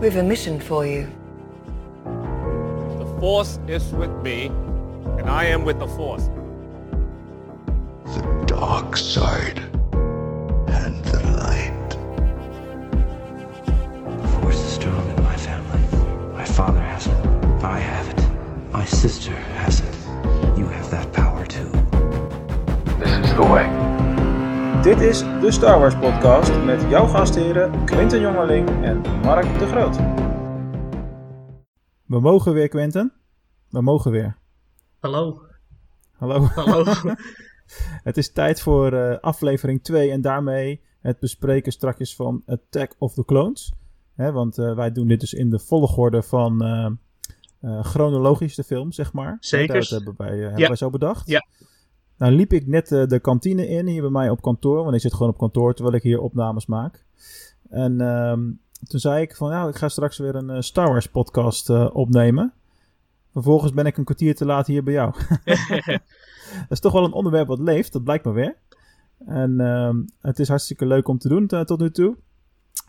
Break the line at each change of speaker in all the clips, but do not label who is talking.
We have a mission for you.
The force is with me, and I am with the force.
the dark side and the light.
Force is strong in my family. My father has it. I have it. My sister has it. You have that power too.
Dit is de Star Wars Podcast met jouw gastheren Quinten Jongeling en Mark de Groot. We mogen weer, Quinten. We mogen weer.
Hallo,
Hallo.
hallo.
Het is tijd voor eh, aflevering 2 en daarmee het bespreken strakjes van Attack of the Clones. Hè, want eh, wij doen dit dus in de volgorde van eh, eh, chronologisch de film, zeg maar.
Zeker.
Dat hebben wij, eh, hebben
Ja.
wij zo bedacht.
Ja.
Nou liep ik net eh, de kantine in hier bij mij op kantoor, want ik zit gewoon op kantoor terwijl ik hier opnames maak. En ehm, toen zei ik van, nou, ik ga straks weer een eh, Star Wars podcast eh, opnemen. Vervolgens ben ik een kwartier te laat hier bij jou. Dat is toch wel een onderwerp wat leeft, dat blijkt maar weer. En ehm, het is hartstikke leuk om te doen eh, tot nu toe.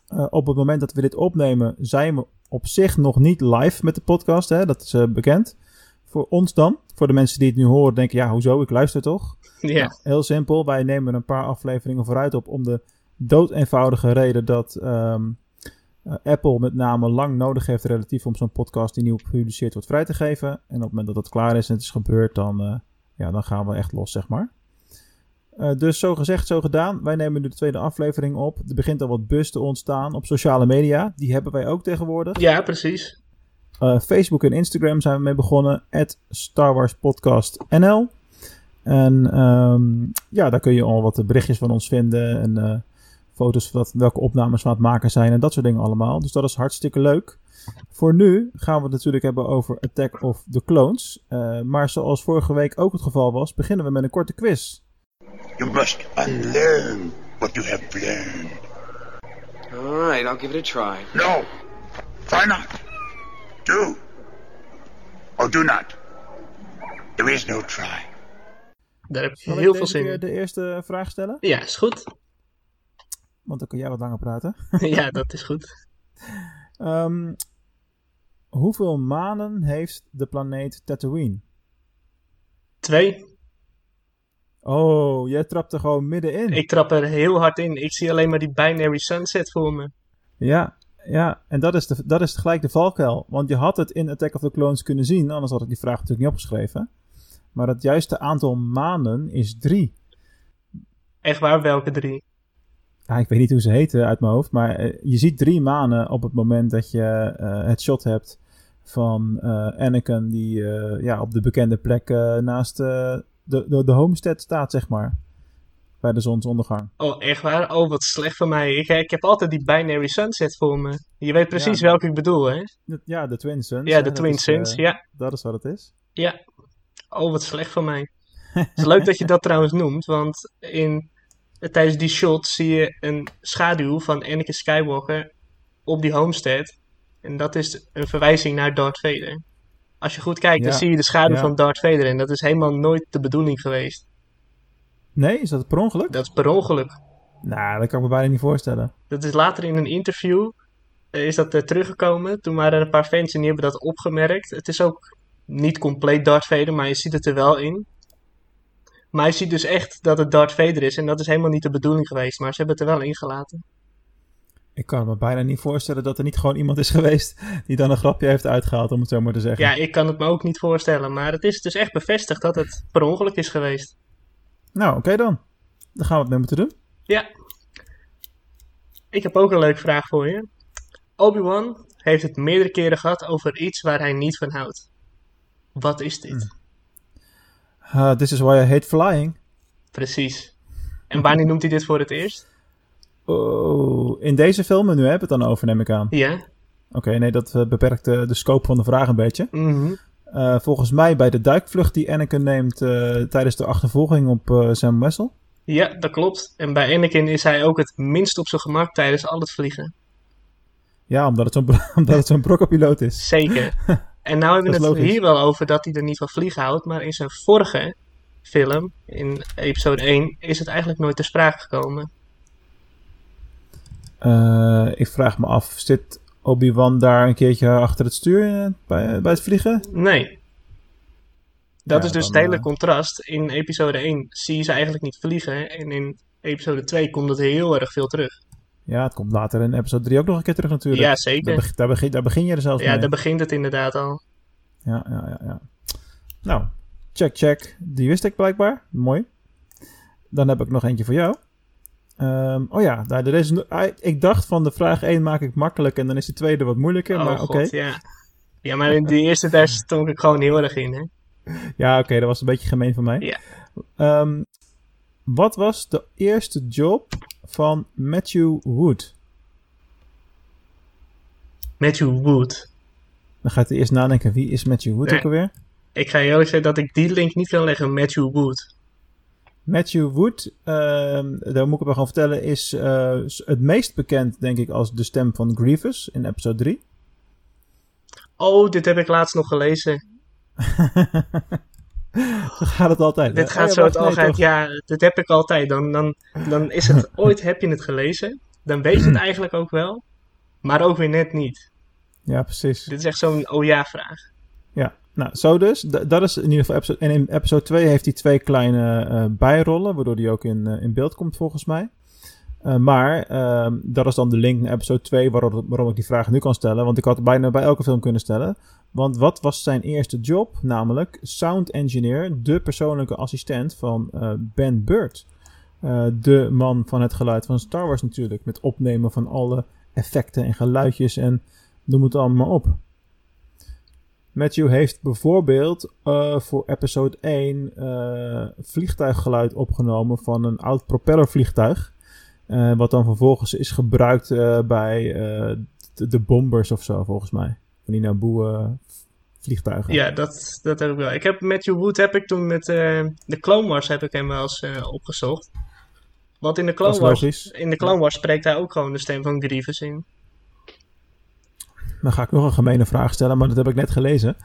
Eh, op het moment dat we dit opnemen, zijn we op zich nog niet live met de podcast. Hè? Dat is eh, bekend. Voor ons dan. Voor de mensen die het nu horen, denken: ja, hoezo? Ik luister toch?
ja,
Heel simpel, wij nemen een paar afleveringen vooruit op om de dood eenvoudige reden dat ehm, eh, Apple met name lang nodig heeft relatief om zo'n podcast die nieuw gepubliceerd wordt vrij te geven. En op het moment dat dat klaar is en het is gebeurd, dan, eh, ja, dan gaan we echt los, zeg maar. Eh, dus zo gezegd, zo gedaan. Wij nemen nu de tweede aflevering op. Er begint al wat bus te ontstaan op sociale media. Die hebben wij ook tegenwoordig.
ja, precies.
Eh, Facebook en Instagram zijn we mee begonnen. At Star Wars Podcast NL. En ehm, ja, daar kun je al wat berichtjes van ons vinden. En eh, foto's van wat- welke opnames we aan het maken zijn. En dat soort dingen allemaal. Dus dat is hartstikke leuk. Voor nu gaan we het natuurlijk hebben over Attack of the Clones. Eh, maar zoals vorige week ook het geval was, beginnen we met een korte quiz.
You must unlearn what you have learned.
All right, I'll give it a try.
No. Try not. Do. Or do not. There is no try.
Daar heb je
Zal ik
heel
deze
veel zin
keer
in.
de eerste vraag stellen?
Ja, is goed.
Want dan kun jij wat langer praten.
ja, dat is goed.
Ehm, hoeveel manen heeft de planeet Tatooine?
Twee.
Oh, jij trapt er gewoon middenin.
Ik trap er heel hard in. Ik zie alleen maar die binary sunset voor me.
Ja, ja, en dat is, de, dat is gelijk de valkuil. Want je had het in Attack of the Clones kunnen zien, anders had ik die vraag natuurlijk niet opgeschreven. Maar het juiste aantal manen is drie.
Echt waar, welke drie?
Ja, ik weet niet hoe ze heten uit mijn hoofd, maar eh, je ziet drie manen op het moment dat je eh, het shot hebt van eh, Anakin die eh, ja, op de bekende plek eh, naast eh, de, de, de homestead staat, zeg maar. Bij de zonsondergang.
Oh, echt waar? Oh, wat slecht van mij. Ik, ik heb altijd die binary sunset voor me. Je weet precies
Ja.
welke ik bedoel, hè?
De- Ja, de Twin Suns.
Ja,
hè,
de
dat
Twin
is, eh,
Suns. Ja,
Dat is wat het is.
ja. Oh, wat slecht van mij. Het is leuk dat je dat trouwens noemt, want in, tijdens die shot zie je een schaduw van Anakin Skywalker op die homestead. En dat is een verwijzing naar Darth Vader. Als je goed kijkt,
Ja,
dan zie je de schaduw
ja.
van Darth Vader. En dat is helemaal nooit de bedoeling geweest.
Nee, is dat per ongeluk?
Dat is per ongeluk.
Nou, dat kan ik me bijna niet voorstellen.
Dat is later in een interview eh, is dat eh, teruggekomen. Toen waren er een paar fans en die hebben dat opgemerkt. Het is ook niet compleet Darth Vader, maar je ziet het er wel in. Maar je ziet dus echt dat het Darth Vader is. En dat is helemaal niet de bedoeling geweest. Maar ze hebben het er wel ingelaten.
Ik kan me bijna niet voorstellen dat er niet gewoon iemand is geweest die dan een grapje heeft uitgehaald, om het zo maar te zeggen.
Ja, ik kan het me ook niet voorstellen. Maar het is dus echt bevestigd dat het per ongeluk is geweest.
Nou, oké dan. Dan gaan we het mee moeten doen.
Ja. Ik heb ook een leuke vraag voor je. Obi-Wan heeft het meerdere keren gehad over iets waar hij niet van houdt. Wat is dit?
Eh, this is why I hate flying.
Precies.
Mhm.
En wanneer noemt hij dit voor het eerst?
Oh, in deze film, en nu heb we het dan over, neem ik aan.
Ja.
Oké, nee, dat eh, beperkt eh, de scope van de vraag een beetje.
Mhm.
Eh, volgens mij bij de duikvlucht die Anakin neemt eh, tijdens de achtervolging op eh Sam Wessel.
Ja, dat klopt. En bij Anakin is hij ook het minst op zijn gemak tijdens al het vliegen.
Ja, omdat het zo'n omdat het zo'n brokkenpiloot is.
Zeker. En nou hebben
Dat
we
is
het
logisch.
hier wel over dat hij er niet van vliegen houdt. Maar in zijn vorige film, in episode 1, is het eigenlijk nooit ter sprake gekomen.
Eh, ik vraag me af, zit Obi-Wan daar een keertje achter het stuur eh, bij, bij het vliegen?
Nee. Dat
Ja,
is dus
dan,
het hele
eh,
contrast. In episode 1 zie je ze eigenlijk niet vliegen. En in episode 2 komt dat heel erg veel terug.
Ja, het komt later in episode 3 ook nog een keer terug natuurlijk.
Ja, zeker.
Daar, beg- daar, begin, daar begin je er zelfs
Ja,
mee.
daar begint het inderdaad al.
Ja, ja, ja, ja. Nou, check, check. Die wist ik blijkbaar. Mooi. Dan heb ik nog eentje voor jou. Ehm, oh ja, nou, er is, een- ah, ik dacht van de vraag 1 maak ik makkelijk en dan is de tweede wat moeilijker.
oh
maar oké.
god, ja. Ja, maar in die eerste daar stonk ik gewoon heel erg in, hè.
Ja, oké, dat was een beetje gemeen van mij.
Ja.
Ehm, wat was de eerste job van Matthew Wood?
Matthew Wood.
Dan gaat hij eerst nadenken, wie is Matthew Wood
Nee.
ook alweer?
Ik ga je eerlijk zeggen dat ik die link niet kan leggen. Matthew Wood.
Matthew Wood, ehm, daar moet ik het wel gaan vertellen, is eh, s- het meest bekend, denk ik, als de stem van Grievous in episode 3.
Oh, dit heb ik laatst nog gelezen.
Zo gaat het altijd.
dit
hè?
gaat
Oh
zo
wacht,
het
nee,
algemeen.
toch.
Ja, dit heb ik altijd. Dan, dan, dan is het ooit heb je het gelezen. Dan weet je het eigenlijk ook wel. Maar ook weer net niet.
Ja, precies.
Dit is echt zo'n oh ja vraag.
Ja. Nou, zo dus. D- dat is in ieder geval episode... En in episode 2 heeft hij twee kleine eh, bijrollen, waardoor hij ook in, eh, in beeld komt volgens mij. Eh, maar ehm, dat is dan de link naar episode 2 waarom, waarom ik die vraag nu kan stellen. Want ik had het bijna bij elke film kunnen stellen. Want wat was zijn eerste job? Namelijk sound engineer, de persoonlijke assistent van eh, Ben Burtt. Eh, de man van het geluid van Star Wars natuurlijk. Met opnemen van alle effecten en geluidjes en noem het allemaal maar op. Matthew heeft bijvoorbeeld eh, voor episode 1 eh, vliegtuiggeluid opgenomen van een oud propellervliegtuig. Eh, wat dan vervolgens is gebruikt eh, bij eh, de, de bombers of zo, volgens mij. Van die eh, Naboe-vliegtuigen.
Ja, dat, dat heb ik wel. Ik heb Matthew Wood heb ik toen met eh, de Clone Wars heb ik hem wel eens eh, opgezocht. Want in de Clone
Dat is
Wars,
logisch.
in de Clone Wars spreekt hij ook gewoon de stem van Grievous in.
Dan ga ik nog een gemene vraag stellen, maar dat heb ik net gelezen.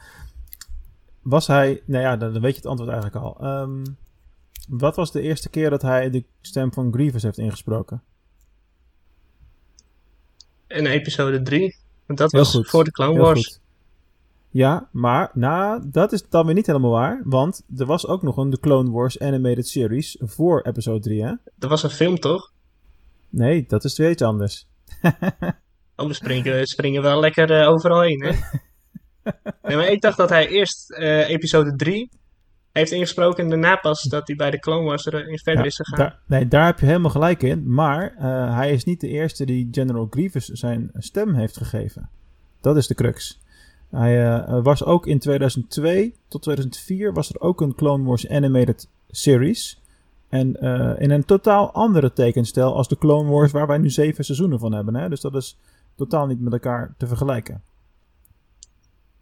Was hij, nou ja, dan dan weet je het antwoord eigenlijk al. Ehm, wat was de eerste keer dat hij de stem van Grievous heeft ingesproken?
In episode 3. Want dat
Heel
was
goed.
voor de Clone
Heel
Wars.
goed. Ja, maar nou, dat is dan weer niet helemaal waar. Want er was ook nog een The Clone Wars Animated Series voor episode 3, hè?
Dat was een film toch?
Nee, dat is weer iets anders.
Oh, we springen, we springen wel lekker eh, overal heen, hè? nee, maar ik dacht dat hij eerst eh, episode 3 heeft ingesproken en daarna pas dat hij bij de Clone Wars er eh, in verder
Ja,
is gegaan.
daar, nee, daar heb je helemaal gelijk in. Maar eh, hij is niet de eerste die General Grievous zijn stem heeft gegeven. Dat is de crux. Hij eh, was ook in 2002 tot 2004 was er ook een Clone Wars Animated Series. En eh, in een totaal andere tekenstijl als de Clone Wars waar wij nu zeven seizoenen van hebben. Hè? Dus dat is totaal niet met elkaar te vergelijken.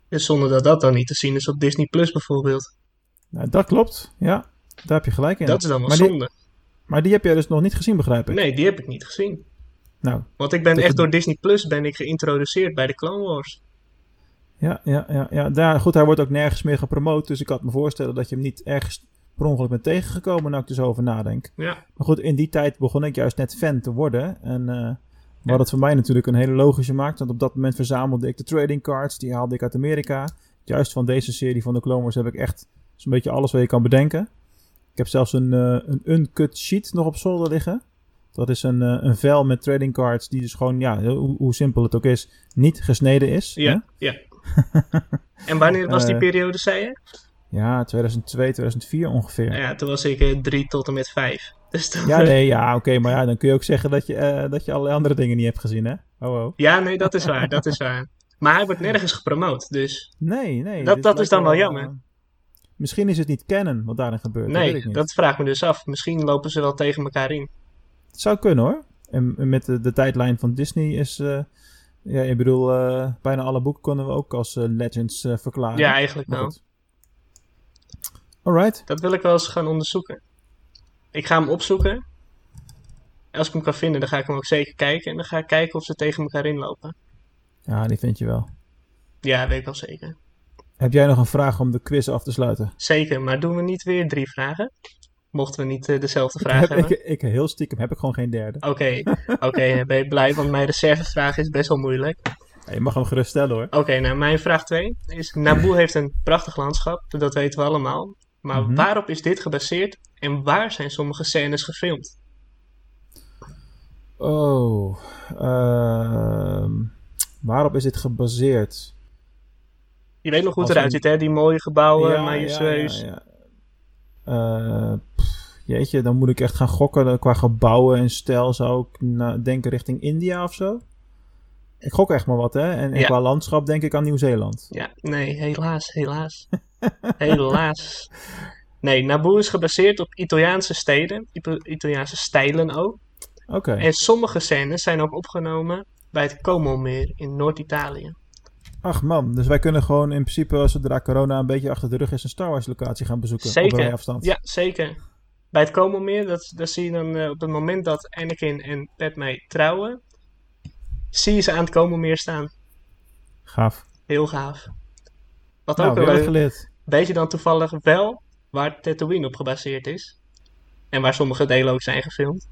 Dus zonder dat dat dan niet te zien is op Disney Plus bijvoorbeeld.
Nou, dat klopt, ja. Daar heb je gelijk in.
Dat is dan wel
maar die,
zonde.
maar die heb jij dus nog niet gezien, begrijp ik?
Nee, die heb ik niet gezien.
Nou,
Want ik ben
Dat
echt
je-
door Disney Plus ben ik geïntroduceerd bij de Clone Wars.
Ja, ja, ja, ja. Daar, goed, hij wordt ook nergens meer gepromoot. Dus ik had me voorstellen dat je hem niet ergens per ongeluk bent tegengekomen. Nou, ik er zo over nadenk.
Ja.
Maar goed, in die tijd begon ik juist net fan te worden. En eh wat het voor mij natuurlijk een hele logische maakt. Want op dat moment verzamelde ik de trading cards. Die haalde ik uit Amerika. Juist van deze serie van de Clone Wars heb ik echt zo'n beetje alles wat je kan bedenken. Ik heb zelfs een, eh, een uncut sheet nog op zolder liggen. Dat is een, eh, een vel met trading cards die dus gewoon, ja, hoe, hoe simpel het ook is, niet gesneden is. hè?
Ja, ja. en wanneer was die
Eh.
periode, zei je?
Ja, 2002, 2004 ongeveer.
Ja, toen was ik eh, drie tot en met vijf. Dus toen-
Ja, nee, ja, oké, maar ja, dan kun je ook zeggen dat je, eh, dat je allerlei andere dingen niet hebt gezien, hè? Oh, oh.
Ja, nee, dat is waar, dat is waar. Maar hij wordt nergens gepromoot, dus
Nee, nee.
Dat-
dit
dat is
lijkt
dan wel
eh,
jammer.
misschien is het niet kennen wat daarin gebeurt. dat weet
nee,
ik niet.
dat vraag ik me dus af. Misschien lopen ze wel tegen elkaar in.
Het zou kunnen, hoor. En, en met de, de tijdlijn van Disney is... eh, ja, ik bedoel, eh, bijna alle boeken konden we ook als eh, legends eh, verklaren.
Ja, eigenlijk
Maar
wel.
goed. Alright.
Dat wil ik wel eens gaan onderzoeken. Ik ga hem opzoeken. Als ik hem kan vinden, dan ga ik hem ook zeker kijken. En dan ga ik kijken of ze tegen elkaar inlopen.
Ja, die vind je wel.
Ja, weet ik wel zeker.
Heb jij nog een vraag om de quiz af te sluiten?
Zeker, maar doen we niet weer drie vragen? Mochten we niet eh, dezelfde vraag
heb, ik,
hebben? Oh. eh,
ik, heel stiekem heb ik gewoon geen derde.
Oké, oké, ben je blij, want mijn reservevraag is best wel moeilijk.
Ja, je mag hem gerust stellen hoor.
Oké, nou mijn vraag 2 is: Naboo heeft een prachtig landschap, dat weten we allemaal. Maar
Mhm.
waarop is dit gebaseerd en waar zijn sommige scènes gefilmd?
Oh, ehm, waarop is dit gebaseerd?
Je weet nog hoe het
Als
eruit
een-
ziet, hè? Die mooie gebouwen,
Ja,
majestueus.
ja, ja. Eh, pff, jeetje, dan moet ik echt gaan gokken. Dat Qua gebouwen en stijl zou ik na- denken richting India of zo. Ik gok echt maar wat, hè? En, en
Ja.
qua landschap denk ik aan Nieuw-Zeeland.
Ja, nee, helaas, helaas. helaas. Nee, Naboo is gebaseerd op Italiaanse steden, Ipo- Italiaanse stijlen ook.
Oké.
En sommige scènes zijn ook opgenomen bij het Como-meer in Noord-Italië.
Ach man, dus wij kunnen gewoon in principe zodra corona een beetje achter de rug is een Star Wars locatie gaan bezoeken. Op een
Zeker.
afstand.
Ja, zeker. Bij het Como-meer, dat, dat zie je dan eh, op het moment dat Anakin en Padme trouwen, zie je ze aan het Como-meer staan.
Gaaf.
Heel gaaf. Wat
Nou,
ook wel
weer wat
leuk.
geleerd.
Weet je dan toevallig wel waar Tatooine op gebaseerd is? En waar sommige delen ook zijn gefilmd?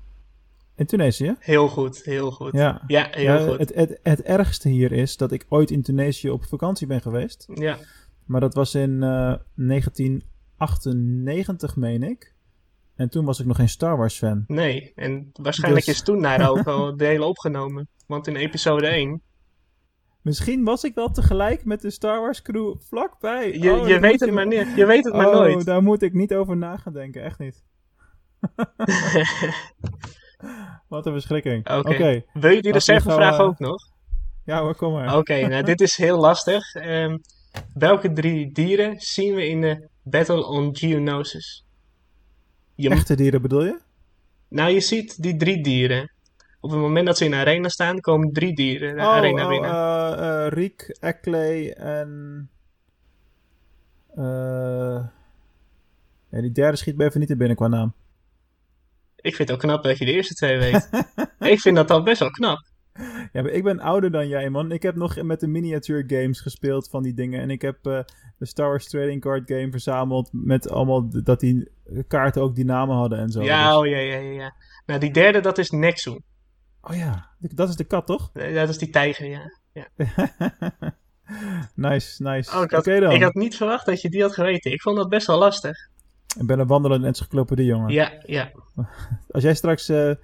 In Tunesië?
Heel goed, heel goed.
Ja.
heel
Ja,
goed.
Eh, Het, het, het ergste hier is dat ik ooit in Tunesië op vakantie ben geweest.
Ja,
Maar dat was in eh, 1998, meen ik. En toen was ik nog geen Star Wars fan.
nee. En waarschijnlijk
Dus-
is toen daar ook al delen opgenomen. Want in episode 1,
Misschien was ik wel tegelijk met de Star Wars crew vlakbij.
je,
Oh,
je
dat moet
weet het maar niet, je weet het maar
oh,
nooit.
daar moet ik niet over na gaan denken, echt niet. Wat een verschrikking.
Oké.
Oké.
Wil je die
Als we
reservevraag
gaan, eh,
ook nog?
Ja hoor, kom maar.
Oké, nou dit is heel lastig. Ehm, welke drie dieren zien we in de Battle on Geonosis? Je moet
Echte dieren bedoel je?
Nou, je ziet die drie dieren. Op het moment dat ze in de arena staan, komen drie dieren de
oh,
arena
oh,
binnen.
eh, eh, Riek, Ekley en... eh, ja, die derde schiet me even niet in binnen qua naam.
Ik vind het ook knap dat je de eerste twee weet. ik vind dat al best wel knap.
Ja, maar ik ben ouder dan jij, man. Ik heb nog met de miniature games gespeeld van die dingen. En ik heb eh, de Star Wars Trading Card Game verzameld met allemaal d- dat die kaarten ook die namen hadden en zo.
ja,
Dus-
oh ja, ja, ja, ja. Nou, die derde, dat is Nexu.
Oh ja, d- dat is de kat, toch?
Eh, Dat is die tijger, ja.
nice, nice.
Oh, ik,
Oké
had,
dan.
ik
Ik,
had niet verwacht dat je die had geweten. Ik vond dat best wel lastig.
ben een wandelende encyclopedie, jongen.
Ja, ja.
Als jij straks eh, eh,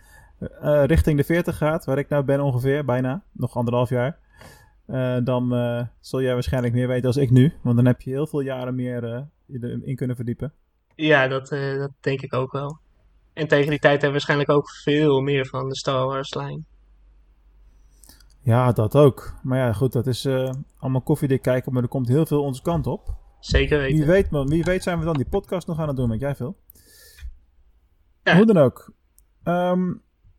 richting de 40 gaat, waar ik nou ben ongeveer, bijna, nog anderhalf jaar, eh, dan eh, zul jij waarschijnlijk meer weten als ik nu. Want dan heb je heel veel jaren meer eh, je erin kunnen verdiepen.
Ja, dat, eh, dat denk ik ook wel. En tegen die tijd hebben we waarschijnlijk ook veel meer van de Star Wars-lijn.
Ja, dat ook. Maar ja, goed, dat is eh, allemaal koffiedik kijken, maar er komt heel veel onze kant op.
Zeker weten.
Wie weet, man, wie weet zijn we dan die podcast nog aan het doen, weet jij veel?
Ja.
Hoe dan ook. Ehm,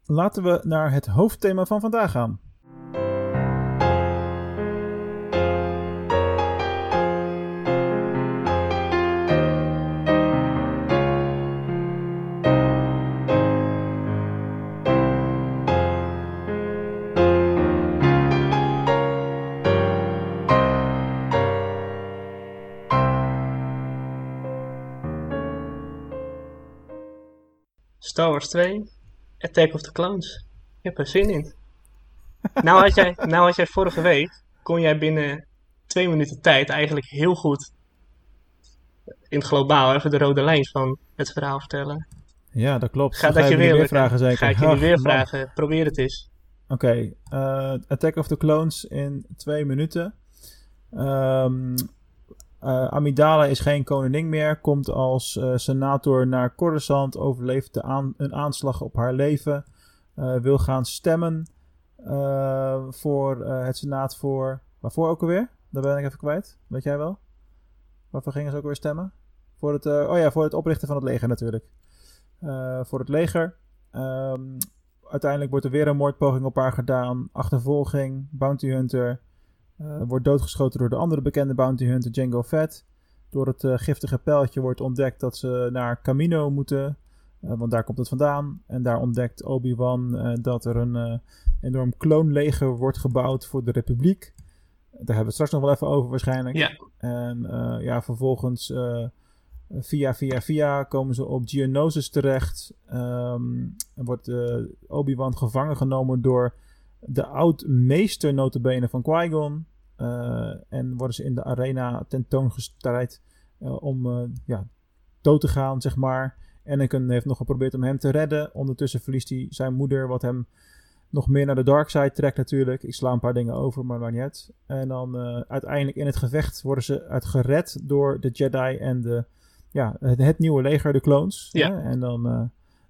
laten we naar het hoofdthema van vandaag gaan.
Star Wars 2, Attack of the Clones. Ik heb er zin in. nou, had jij, nou had jij vorige week, kon jij binnen twee minuten tijd eigenlijk heel goed in het globaal even de rode lijn van het verhaal vertellen.
Ja, dat klopt.
Ga
Dan
dat je
me
weer lukken.
vragen, zeker.
Ga ik je nu
Ach, man.
weer vragen. Probeer het eens.
Oké, eh, Attack of the Clones in twee minuten. Ehm, eh, Amidala is geen koningin meer, komt als eh, senator naar Coruscant, overleeft de aan- een aanslag op haar leven, eh, wil gaan stemmen eh, voor eh, het senaat voor... Waarvoor ook alweer? Daar ben ik even kwijt, weet jij wel? Waarvoor gingen ze ook weer stemmen? Voor het, eh, oh ja, voor het oprichten van het leger natuurlijk. Eh, voor het leger. Ehm, uiteindelijk wordt er weer een moordpoging op haar gedaan. Achtervolging, bounty hunter. eh, wordt doodgeschoten door de andere bekende bounty hunter, Django Fett. Door het eh, giftige pijltje wordt ontdekt dat ze naar Camino moeten. eh, want daar komt het vandaan. En daar ontdekt Obi-Wan eh, dat er een eh, enorm kloonleger wordt gebouwd voor de Republiek. Daar hebben we het straks nog wel even over waarschijnlijk.
Ja.
En eh, ja, vervolgens eh, via, via, via komen ze op Geonosis terecht. Ehm, en wordt eh, Obi-Wan gevangen genomen door de oud-meester notabene van Qui-Gon. Eh, en worden ze in de arena tentoongestrijd eh, om eh, ja, dood te gaan, zeg maar. Anakin heeft nog geprobeerd om hem te redden. Ondertussen verliest hij zijn moeder, wat hem nog meer naar de dark side trekt natuurlijk. Ik sla een paar dingen over, maar maar niet. En dan eh, uiteindelijk in het gevecht worden ze uit gered door de Jedi en de, ja, het, het nieuwe leger, de clones.
Ja.
hè. En dan eh,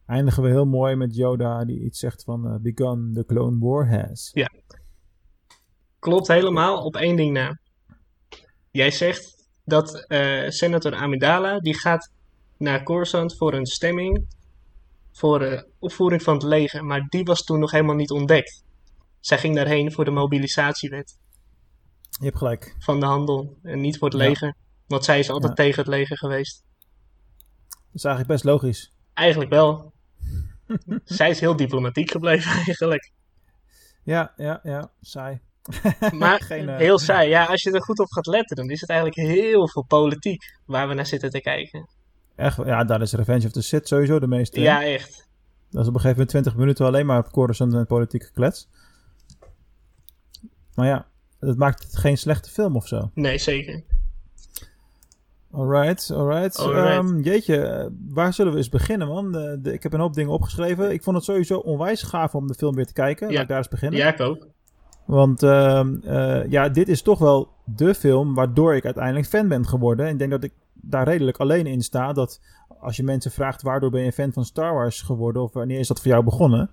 eindigen we heel mooi met Yoda die iets zegt van eh, Begun the Clone War has.
Klopt helemaal op één ding na. Jij zegt dat eh, senator Amidala die gaat naar Coruscant voor een stemming voor eh, opvoering van het leger, maar die was toen nog helemaal niet ontdekt. Zij ging daarheen voor de mobilisatiewet
Je hebt gelijk.
van de handel en niet voor het
Ja.
leger, want zij is altijd
Ja.
tegen het leger geweest.
Dat is eigenlijk best logisch.
Eigenlijk wel. zij is heel diplomatiek gebleven eigenlijk.
Ja, ja, ja. Saai.
Maar
Geen, eh,
heel saai. Ja, als je er goed op gaat letten, dan is het eigenlijk heel veel politiek waar we naar zitten te kijken.
Echt, ja, daar is Revenge of the Sith sowieso de meeste.
Ja, echt.
Dat is op een gegeven moment 20 minuten alleen maar op Coruscant en politiek geklets. Maar ja, dat maakt het geen slechte film of zo.
Nee, zeker.
Alright, alright.
Alright.
Ehm, jeetje, eh, waar zullen we eens beginnen, man? Eh, de- ik heb een hoop dingen opgeschreven. Ik vond het sowieso onwijs gaaf om de film weer te kijken.
Ja.
Laat ik daar eens beginnen.
Ja, ik ook.
Want ehm, eh, ja, dit is toch wel de film waardoor ik uiteindelijk fan ben geworden. En ik denk dat ik daar redelijk alleen in sta. Dat als je mensen vraagt waardoor ben je fan van Star Wars geworden of wanneer is dat voor jou begonnen,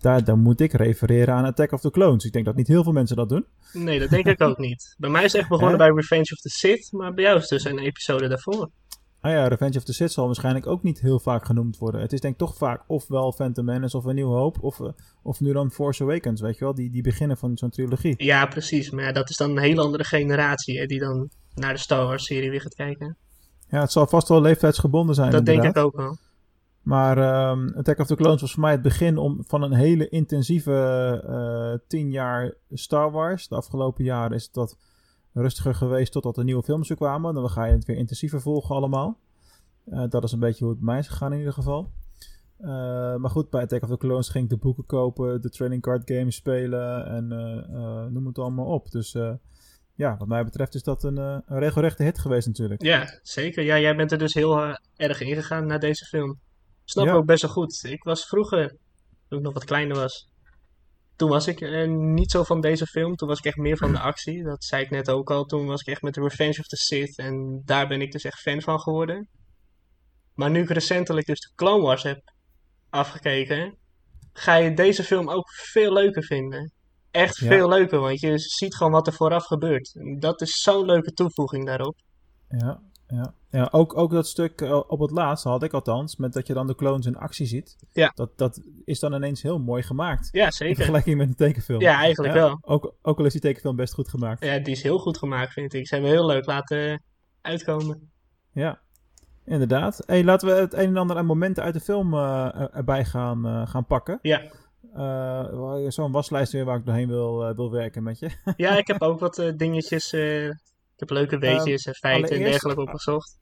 daar, dan moet ik refereren aan Attack of the Clones. Ik denk dat niet heel veel mensen dat doen.
Nee, dat denk ik ook niet. Bij mij is het echt begonnen bij Revenge of the Sith, maar bij jou is het dus een episode daarvoor.
Ah ja, Revenge of the Sith zal waarschijnlijk ook niet heel vaak genoemd worden. Het is denk ik toch vaak ofwel Phantom Menace of A New Hope of, eh, of nu dan Force Awakens, weet je wel, die, die beginnen van zo'n trilogie.
Ja, precies. Maar ja, dat is dan een hele andere generatie hè, die dan naar de Star Wars serie weer gaat kijken.
Ja, het zal vast wel leeftijdsgebonden zijn
dat denk
inderdaad.
ik ook wel.
Maar ehm, Attack of the Clones was voor mij het begin om, van een hele intensieve eh, tien jaar Star Wars. De afgelopen jaren is dat rustiger geweest totdat de nieuwe films er kwamen. Dan ga je het weer intensiever volgen allemaal. Eh, dat is een beetje hoe het bij mij is gegaan in ieder geval. Eh, maar goed, bij Attack of the Clones ging ik de boeken kopen, de training card games spelen en eh, eh, noem het allemaal op. Dus eh, ja, wat mij betreft is dat een, eh, een regelrechte hit geweest natuurlijk.
Ja, zeker. Ja, jij bent er dus heel eh, erg ingegaan na deze film. Snap ik
Ja.
ook best wel goed. Ik was vroeger, toen ik nog wat kleiner was, toen was ik eh, niet zo van deze film. Toen was ik echt meer van de actie. Dat zei ik net ook al. Toen was ik echt met Revenge of the Sith. En daar ben ik dus echt fan van geworden. Maar nu ik recentelijk dus de Clone Wars heb afgekeken, ga je deze film ook veel leuker vinden. Echt
Ja.
veel leuker, want je ziet gewoon wat er vooraf gebeurt. En Dat is zo'n leuke toevoeging daarop.
Ja, ja. ja ook, ook dat stuk eh, op het laatst had ik althans, met dat je dan de clones in actie ziet.
Ja.
Dat, dat is dan ineens heel mooi gemaakt.
Ja,
In
zeker.
vergelijking met een tekenfilm.
Ja, eigenlijk wel.
Ook, ook al is die tekenfilm best goed gemaakt. Ja,
Ja, die is heel goed gemaakt, vind ik. Ze hebben heel leuk laten uitkomen.
inderdaad. Hey, laten we het een en ander aan momenten uit de film eh, er- erbij gaan, eh, gaan pakken.
Ja,
Eh, Zo'n waslijst weer waar ik doorheen wil, eh, wil werken met je.
ja ik heb ook wat eh, dingetjes. eh, ik heb leuke weetjes en feiten en
allereerst-
dergelijke opgezocht.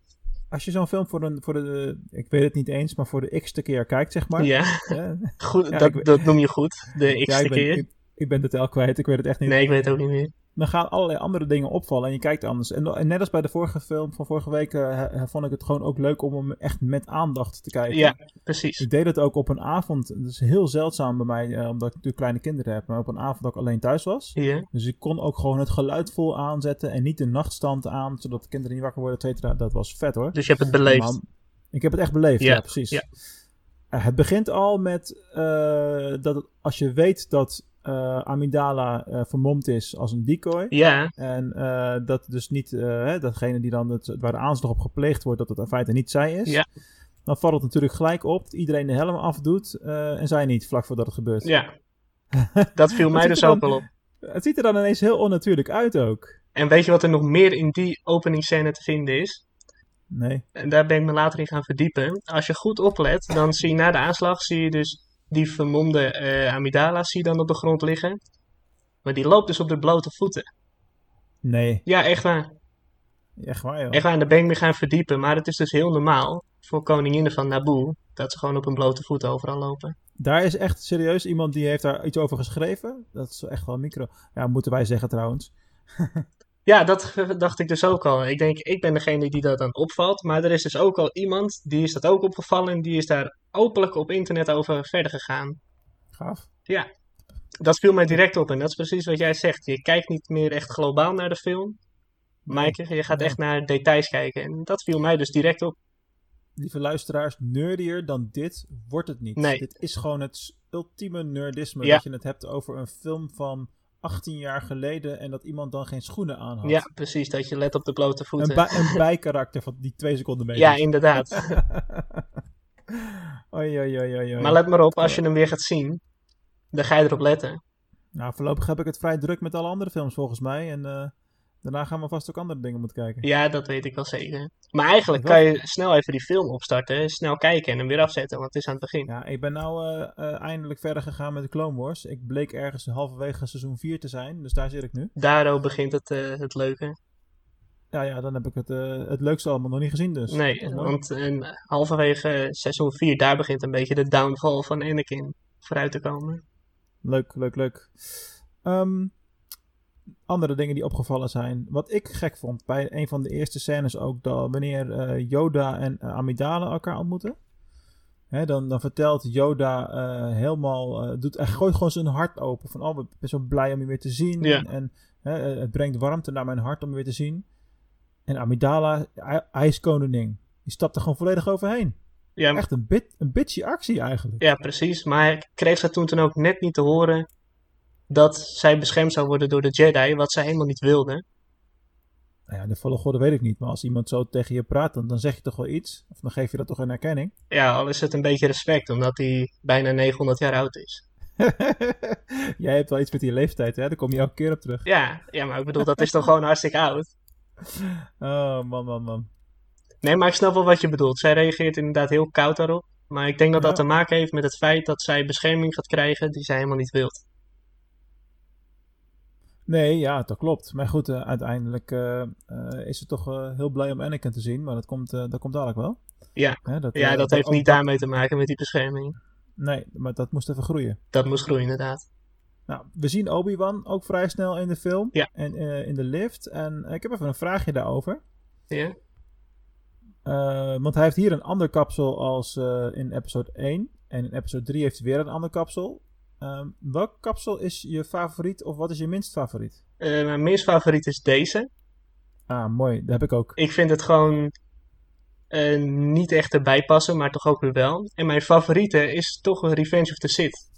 Als je zo'n film voor, een, voor de, ik weet het niet eens, maar voor de x-te keer kijkt, zeg maar.
Ja,
Eh,
goed,
Ja,
dat,
ik-
dat noem je goed. De
ja,
x-te
ik, ben,
keer.
ik, ik ben de tel kwijt, ik weet het echt niet.
Nee, ik weet het ook niet meer.
dan gaan allerlei andere dingen opvallen en je kijkt anders. En, en net als bij de vorige film van vorige week eh, eh, vond ik het gewoon ook leuk om hem echt met aandacht te kijken.
Ja, precies.
Ik deed het ook op een avond. Dat is heel zeldzaam bij mij, eh, omdat ik natuurlijk kleine kinderen heb, maar op een avond dat ik alleen thuis was.
Ja,
Dus ik kon ook gewoon het geluid vol aanzetten en niet de nachtstand aan, zodat de kinderen niet wakker worden, et cetera. Dat was vet hoor.
dus je hebt het beleefd.
Maar ik heb het echt beleefd,
Ja,
ja, precies.
ja.
Eh, het begint al met eh, dat het- als je weet dat eh, Amidala eh, vermomd is als een decoy.
Ja,
En eh, dat dus niet, eh, hè, datgene die dan het, waar de aanslag op gepleegd wordt, dat het in feite niet zij is.
Ja.
Dan valt het natuurlijk gelijk op dat iedereen de helm afdoet eh, en zij niet, vlak voordat het gebeurt.
ja. Dat viel mij
ziet
dus
er
ook
dan-
wel op.
Het ziet er dan ineens heel onnatuurlijk uit ook.
En weet je wat er nog meer in die openingscène te vinden is?
Nee.
En daar ben ik me later in gaan verdiepen. Als je goed oplet, dan zie je na de aanslag zie je dus die vermomde eh amidala zie je dan op de grond liggen. Maar die loopt dus op de blote voeten.
Nee,
Ja, echt waar.
echt waar joh.
Echt waar, en daar ben ik me gaan verdiepen. Maar het is dus heel normaal voor koninginnen van Naboo dat ze gewoon op hun blote voeten overal lopen.
Daar is echt serieus iemand die heeft daar iets over geschreven. Dat is echt wel micro. Ja, moeten wij zeggen trouwens.
Ja, dat ge- dacht ik dus ook al. Ik denk, ik ben degene die dat dan opvalt. Maar er is dus ook al iemand die is dat ook opgevallen. En die is daar openlijk op internet over verder gegaan.
Gaaf.
Dat viel mij direct op. En dat is precies wat jij zegt. Je kijkt niet meer echt globaal naar de film. Maar je- je gaat echt naar details kijken. En dat viel mij dus direct op.
Lieve luisteraars, nerdier dan dit wordt het niet.
Nee.
Dit is gewoon het s- ultieme nerdisme.
Ja.
Dat je het hebt over een film van 18 jaar geleden en dat iemand dan geen schoenen aan had.
Ja, precies. Dat je let op de blote voeten.
Een, bij- een bijkarakter van die twee seconden mee.
ja, inderdaad.
Oei, oei, oei, oei, oei.
Maar let maar op, als je hem weer gaat zien, dan ga je erop letten.
Nou, voorlopig heb ik het vrij druk met alle andere films volgens mij. En eh, daarna gaan we vast ook andere dingen moeten kijken.
Ja, dat weet ik wel zeker. Maar eigenlijk kan je snel even die film opstarten, snel kijken en hem weer afzetten, want het is aan het begin.
Ja, ik ben nou eh, eh, eindelijk verder gegaan met de Clone Wars. Ik bleek ergens halverwege seizoen 4 te zijn, dus daar zit ik nu.
Daardoor begint het, eh, het leuke.
Ja, ja, dan heb ik het, eh, het leukste allemaal nog niet gezien dus.
Nee,
Dat is mooi.
want eh, halverwege eh, seizoen 4, daar begint een beetje de downfall van Anakin vooruit te komen.
Leuk, leuk, leuk. Ehm, andere dingen die opgevallen zijn. Wat ik gek vond bij een van de eerste scènes ook, dat wanneer eh, Yoda en eh, Amidala elkaar ontmoeten. Hè, dan, dan vertelt Yoda eh, helemaal, eh, doet, hij gooit gewoon zijn hart open. Van, oh, ik ben zo blij om je weer te zien.
Ja.
En, en, hè, eh, het brengt warmte naar mijn hart om je weer te zien. En Amidala, hij, hij is koningin. Die stapt er gewoon volledig overheen.
Ja,
Echt een, bit, een bitchy actie eigenlijk.
ja, precies. Maar ik kreeg ze toen, toen ook net niet te horen dat zij beschermd zou worden door de Jedi, wat zij helemaal niet wilde.
Nou ja, de volle godde weet ik niet. Maar als iemand zo tegen je praat, dan, dan zeg je toch wel iets. Of dan geef je dat toch een erkenning.
Ja, al is het een beetje respect, omdat hij bijna 900 jaar oud is.
Jij hebt wel iets met die leeftijd, hè? Daar kom je elke keer op terug.
Ja, ja, maar ik bedoel, dat is dan gewoon hartstikke oud.
Oh, man, man, man.
Nee, maar ik snap wel wat je bedoelt. Zij reageert inderdaad heel koud daarop. Maar ik denk dat dat
Ja.
te maken heeft met het feit dat zij bescherming gaat krijgen die zij helemaal niet wilt.
Nee, ja, dat klopt. Maar goed, eh, uiteindelijk eh, eh, is ze toch eh, heel blij om Anakin te zien. Maar dat komt, eh, dat komt dadelijk wel.
Ja.
Hè, dat,
Ja,
eh,
dat heeft
ook
niet daarmee te maken met die bescherming.
Nee, maar dat moest even groeien.
Dat moest groeien, inderdaad.
Nou, we zien Obi-Wan ook vrij snel in de film.
Ja.
En eh, in de lift. En eh, ik heb even een vraagje daarover.
Ja,
Eh, want hij heeft hier een ander kapsel als eh, in episode 1. En in episode 3 heeft hij weer een ander kapsel. Ehm, welk kapsel is je favoriet of wat is je minst favoriet?
Eh, mijn minst favoriet is deze.
Ah, mooi. Dat heb ik ook.
Ik vind het gewoon eh, niet echt erbij passen, maar toch ook weer wel. En mijn favoriete is toch Revenge of the Sith.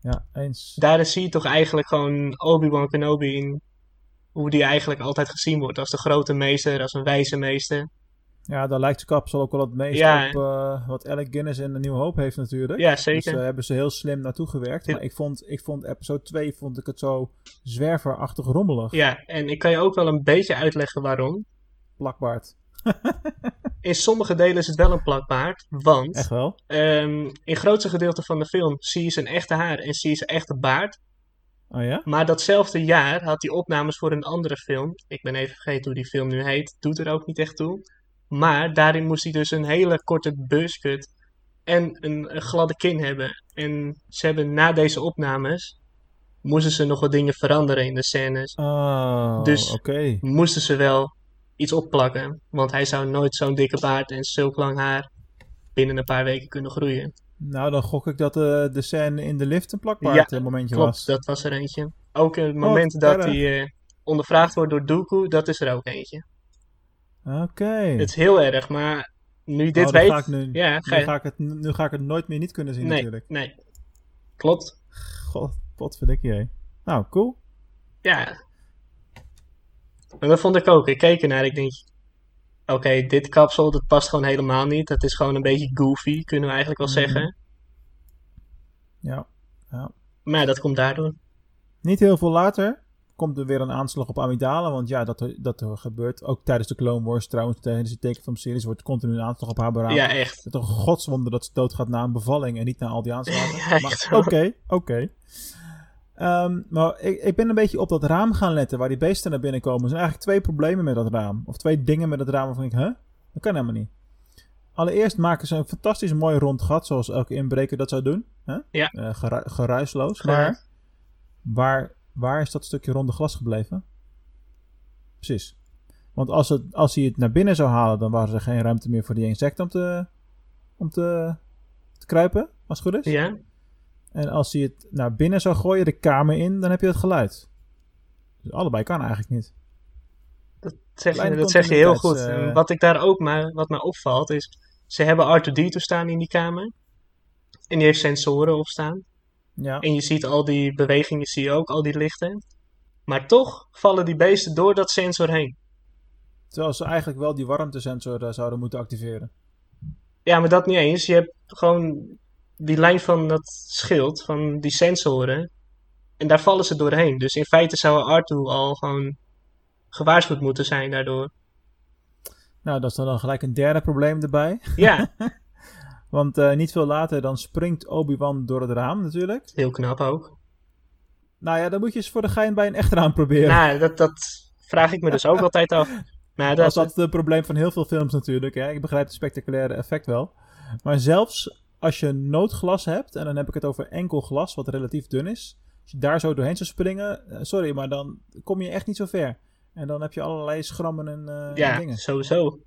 Ja, eens.
daar zie je toch eigenlijk gewoon Obi-Wan Kenobi in. Hoe die eigenlijk altijd gezien wordt. Als de grote meester, als een wijze meester.
Ja, daar lijkt de kapsel ook wel het meest
Ja,
op eh, wat Alec Guinness in de Nieuwe Hoop heeft natuurlijk.
Ja,
Dus
zeker.
daar hebben ze heel slim naartoe gewerkt.
Ja.
Maar ik vond, ik vond episode 2 vond ik het zo zwerverachtig rommelig.
Ja, en ik kan je ook wel een beetje uitleggen waarom.
Plakbaard.
In sommige delen is het wel een plakbaard. Want
Echt wel?
ehm, in grootste gedeelte van de film zie je zijn echte haar en zie je zijn echte baard.
Oh ja?
Maar datzelfde jaar had hij opnames voor een andere film. Ik ben even vergeten hoe die film nu heet. Doet er ook niet echt toe. Maar daarin moest hij dus een hele korte buskut en een, een gladde kin hebben. En ze hebben na deze opnames, moesten ze nog wat dingen veranderen in de scènes.
Oh,
Dus-
oké.
Moesten ze wel iets opplakken. Want hij zou nooit zo'n dikke baard en zulk lang haar binnen een paar weken kunnen groeien.
Nou, dan gok ik dat eh, de scène in de lift een plakbaard
Ja,
eh, momentje was.
Klopt, dat was er eentje. Ook het moment
wat
dat
erg.
hij eh, ondervraagd wordt door Dooku, dat is er ook eentje.
Oké.
Het is heel erg, maar nu je
Oh,
dit
dan
weet...
Ga ik nu,
ja, ga
nu,
je...
ga ik het, nu ga ik het nooit meer niet kunnen zien
nee,
natuurlijk.
nee. Klopt.
God, potverdikkie hé. Nou, cool.
Ja. En dat vond ik ook. Ik keek ernaar, ik denk... Oké, dit kapsel, dat past gewoon helemaal niet. Dat is gewoon een beetje goofy, kunnen we eigenlijk wel
Mhm.
zeggen.
Ja.
Maar ja, dat komt daardoor.
Niet heel veel later komt er weer een aanslag op Amidala. Want ja, dat, dat gebeurt ook tijdens de Clone Wars trouwens. Tijdens de tekenfilmseries wordt continu een aanslag op haar beraamd.
Ja, echt.
Het is toch een godswonder dat ze doodgaat na een bevalling en niet na al die aanslagen.
Ja,
Maar
echt
Oké,
wel.
oké. Ehm, maar ik, ik ben een beetje op dat raam gaan letten waar die beesten naar binnen komen. Er zijn eigenlijk twee problemen met dat raam. Of twee dingen met dat raam waarvan ik, hè? Dat kan helemaal niet. Allereerst maken ze een fantastisch mooi rond gat, zoals elke inbreker dat zou doen. Hè?
Ja.
Eh, geru- geruisloos.
Geruis.
Maar waar, waar is dat stukje ronde glas gebleven? Precies. Want als, het, als hij het naar binnen zou halen, dan was er geen ruimte meer voor die insecten om te, om te, te kruipen, als het goed is.
Ja?
En als hij het naar binnen zou gooien, de kamer in, dan heb je het geluid. Dus allebei kan eigenlijk niet.
Zeg je,
Kleine
dat zeg je heel goed.
continuïteits, eh.
En wat ik daar ook maar, wat mij opvalt is, ze hebben R2D2 staan in die kamer. En die heeft sensoren op staan.
Ja.
En je ziet al die bewegingen, zie je ook, al die lichten. Maar toch vallen die beesten door dat sensor heen.
Terwijl ze eigenlijk wel die warmtesensor eh, zouden moeten activeren.
Ja, maar dat niet eens. Je hebt gewoon die lijn van dat schild, van die sensoren. En daar vallen ze doorheen. Dus in feite zou Artu al gewoon gewaarschuwd moeten zijn daardoor.
Nou, dat is dan gelijk een derde probleem erbij.
Ja,
Want eh, niet veel later dan springt Obi-Wan door het raam natuurlijk.
heel knap ook.
Nou ja, dan moet je eens voor de gein bij een echt raam proberen.
Nou, dat, dat vraag ik me dus ook altijd af. Maar
dat is
dat,
altijd het probleem van heel veel films natuurlijk. Hè? Ik begrijp het spectaculaire effect wel. Maar zelfs als je noodglas hebt, en dan heb ik het over enkel glas, wat relatief dun is. Als je daar zo doorheen zou springen, eh, sorry, maar dan kom je echt niet zo ver. En dan heb je allerlei schrammen en eh,
ja,
dingen.
sowieso.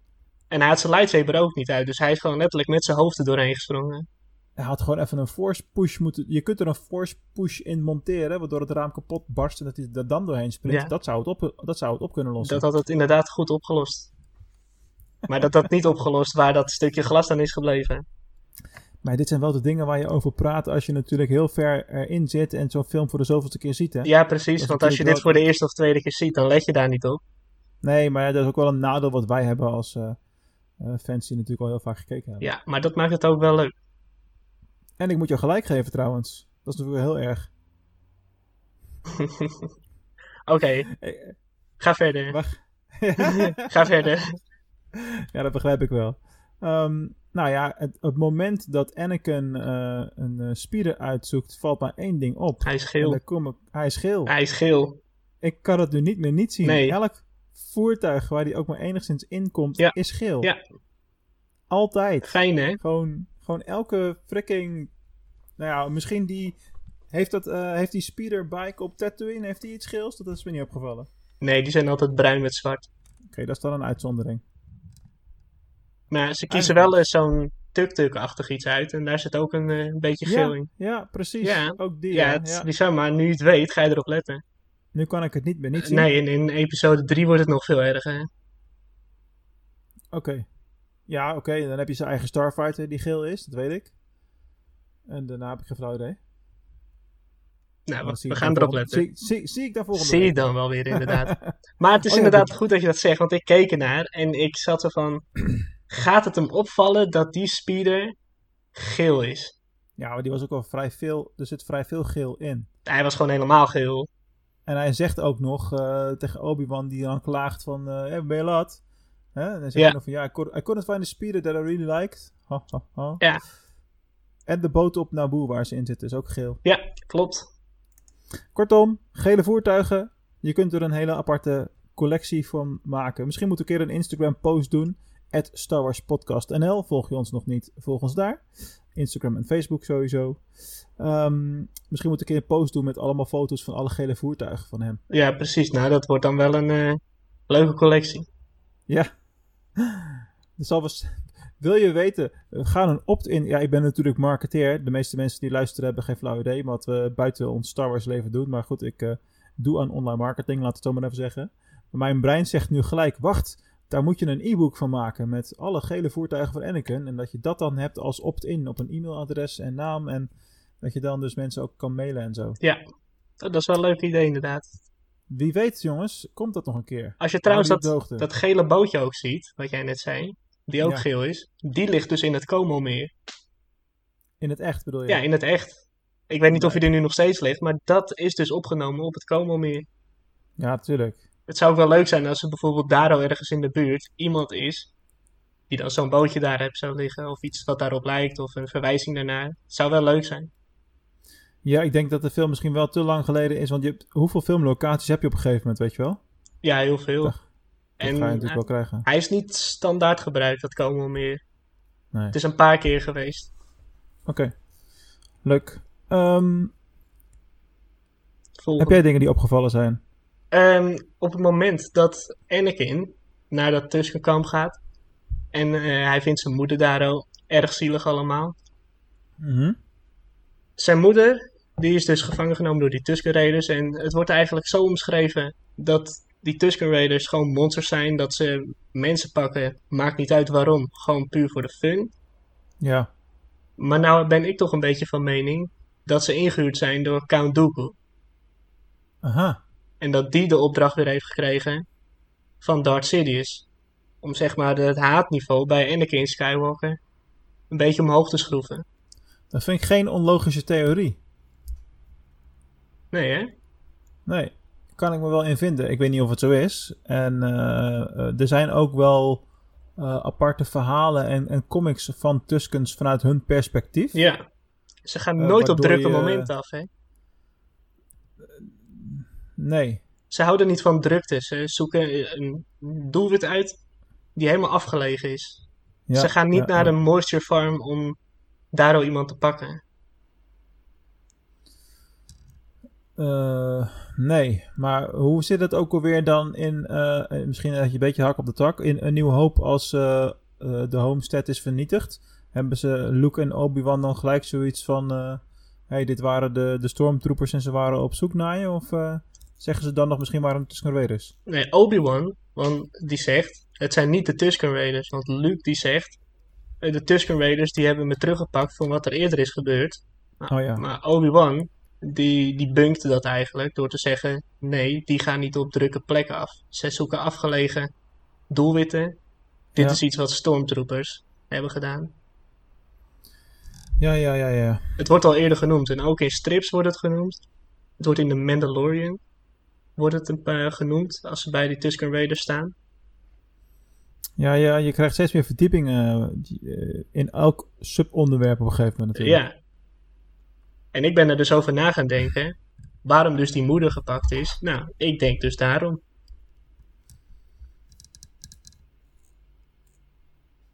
En hij had zijn lightsaber ook niet uit. Dus hij is gewoon letterlijk met zijn hoofd er doorheen gesprongen.
Hij had gewoon even een force push moeten. Je kunt er een force push in monteren, waardoor het raam kapot barst en dat hij er dan doorheen springt.
Ja.
Dat, zou het op, dat zou het op kunnen lossen.
Dat had het inderdaad goed opgelost. Maar dat dat niet opgelost waar dat stukje glas dan is gebleven.
Maar dit zijn wel de dingen waar je over praat als je natuurlijk heel ver erin zit en zo'n film voor de zoveelste keer ziet. Hè?
Ja, precies.
is
Want als je
natuurlijk
dit voor de eerste of tweede keer ziet, dan let je daar niet op.
Nee, maar dat is ook wel een nadeel wat wij hebben als eh, eh, fans die natuurlijk al heel vaak gekeken hebben.
Ja, maar dat maakt het ook wel leuk.
En ik moet jou gelijk geven trouwens. Dat is natuurlijk wel heel erg.
Oké,
Eh,
ga verder.
Wacht.
Ga verder.
ja, dat begrijp ik wel. Ehm, nou ja, het, het moment dat Anakin eh, een eh spieren uitzoekt, valt maar één ding op.
Hij is
En
geel.
daar kom ik, hij is geel.
Hij is geel.
Ik kan het nu niet meer niet zien.
Nee.
Elk voertuig waar hij ook maar enigszins in komt,
Ja.
is geel.
Ja.
Altijd.
Fijn, hè?
Gewoon, gewoon elke fricking... Nou ja, misschien die... Heeft, dat, eh, heeft die speederbike op Tatooine, heeft die iets geels? Dat is me niet opgevallen. Oké,
Nee, die zijn altijd bruin met zwart.
dat is dan een uitzondering.
Maar
Ah,
ze kiezen wel eens zo'n tuk-tuk-achtig iets uit. En daar zit ook een eh, beetje geel
ja,
in.
ja, precies.
Ja.
Ook die.
Ja,
Ja,
het is
ja.
bizar, maar nu je het weet, ga je erop letten.
Nu kan ik het niet meer niet zien.
Nee, in, in episode 3 wordt het nog veel erger.
Oké. Ja, oké. Dan heb je zijn eigen Starfighter die geel is, dat weet ik. En daarna heb ik geen flauw idee.
Nou,
Dan
we,
Oh, zie
we
ik
gaan
daar
erop
volgende-
letten.
Zie, zie, zie ik daar volgende
Zie je
week.
dan wel weer, inderdaad. Maar het is
Oh ja,
inderdaad
dat-
goed dat je dat zegt, want ik keek ernaar en ik zat er van: gaat het hem opvallen dat die speeder geel is?
Ja, maar die was ook al vrij veel. Er zit vrij veel geel in.
Hij was gewoon helemaal geel.
En hij zegt ook nog eh, tegen Obi-Wan, die dan klaagt van, eh hey, ben je laat? Hè? En dan zegt
Ja.
hij nog van, ja, I couldn't, I couldn't find the speeder that I really liked. Ha, ha, ha.
Ja.
En de boot op Naboo waar ze in zitten is ook geel.
Ja, klopt.
Kortom, gele voertuigen. Je kunt er een hele aparte collectie van maken. Misschien moet ik een keer een Instagram post doen. At Star Wars Podcast NL. Volg je ons nog niet, volg ons daar. Instagram en Facebook sowieso. Ehm, misschien moet ik een keer een post doen met allemaal foto's van alle gele voertuigen van hem.
Ja, precies. Nou, dat wordt dan wel een eh, leuke collectie.
Ja. Dus alvast, wil je weten, eh, ga een opt-in. Ja, ik ben natuurlijk marketeer. De meeste mensen die luisteren hebben geen flauw idee wat we buiten ons Star Wars leven doen. Maar goed, ik eh, doe aan online marketing, laat het zo maar even zeggen. Maar mijn brein zegt nu gelijk, wacht, daar moet je een e-book van maken met alle gele voertuigen van Anakin. En dat je dat dan hebt als opt-in op een e-mailadres en naam. En dat je dan dus mensen ook kan mailen en zo.
Ja, dat is wel een leuk idee, inderdaad.
Wie weet jongens, komt dat nog een keer.
Als je trouwens
Hou je op
dat,
de hoogte.
dat gele bootje ook ziet, wat jij net zei, die ook
Ja.
geel is, die ligt dus in het Como-meer.
In het echt bedoel je?
Ja, in het echt. Ik weet niet of hij er nu nog steeds ligt, maar dat is dus opgenomen op het Como-meer.
ja tuurlijk.
Het zou ook wel leuk zijn als er bijvoorbeeld daar al ergens in de buurt iemand is. Die dan zo'n bootje daar hebt zou liggen. Of iets wat daarop lijkt. Of een verwijzing daarnaar. Het zou wel leuk zijn.
Ja, ik denk dat de film misschien wel te lang geleden is. Want je hebt, hoeveel filmlocaties heb je op een gegeven moment, weet je wel?
Ja, heel veel.
Dat Dat
en
ga je
hij,
natuurlijk wel krijgen.
hij is niet standaard gebruikt. Dat komen wel meer.
Nee.
Het is een paar keer geweest.
Oké. Leuk. Ehm, heb
Volgende.
jij dingen die opgevallen zijn?
Ehm, op het moment dat Anakin naar dat Tuskenkamp gaat en eh, hij vindt zijn moeder daar al erg zielig allemaal.
Mhm.
Zijn moeder, die is dus gevangen genomen door die Tusken Raiders en het wordt eigenlijk zo omschreven dat die Tusken Raiders gewoon monsters zijn, dat ze mensen pakken, maakt niet uit waarom, gewoon puur voor de fun.
Ja.
Maar nou ben ik toch een beetje van mening dat ze ingehuurd zijn door Count Dooku.
Aha.
En dat die de opdracht weer heeft gekregen van Darth Sidious. Om zeg maar het haatniveau bij Anakin Skywalker een beetje omhoog te schroeven.
Dat vind ik geen onlogische theorie.
Nee hè?
Nee, kan ik me wel in vinden. Ik weet niet of het zo is. En eh, eh, er zijn ook wel eh, aparte verhalen en, en comics van Tuskens vanuit hun perspectief.
Ja. Ze gaan
Eh,
nooit op
waardoor
drukke
je-
momenten af hè?
Nee,
Ze houden niet van drukte. Ze zoeken een doelwit uit die helemaal afgelegen is.
Ja,
Ze gaan niet
ja,
naar
ja.
een moisture farm om daar al iemand te pakken.
Eh, nee, maar hoe zit het ook alweer dan in, eh, eh, misschien dat je een beetje hak op de tak, in Een Nieuwe Hoop als eh, eh, de homestead is vernietigd? Hebben ze Luke en Obi-Wan dan gelijk zoiets van, eh, hey, dit waren de, de stormtroopers en ze waren op zoek naar je? Of eh, zeggen ze dan nog misschien waarom het Tusken Raiders?
Nee, Obi-Wan, want die zegt, het zijn niet de Tusken Raiders. Want Luke die zegt, eh, de Tusken Raiders die hebben me teruggepakt van wat er eerder is gebeurd. Maar,
Oh ja.
maar Obi-Wan, die, die bunkte dat eigenlijk door te zeggen, nee, die gaan niet op drukke plekken af. Ze zoeken afgelegen doelwitten. Dit
Ja.
is iets wat stormtroopers hebben gedaan.
Ja, ja, ja, ja.
Het wordt al eerder genoemd en ook in strips wordt het genoemd. Het wordt in The Mandalorian wordt het een paar genoemd als ze bij die Tusken Raiders staan.
Ja, ja, je krijgt steeds meer verdieping eh, die, eh, in elk subonderwerp op een gegeven moment natuurlijk.
Ja. En ik ben er dus over na gaan denken. Waarom dus die moeder gepakt is. Nou, ik denk dus daarom.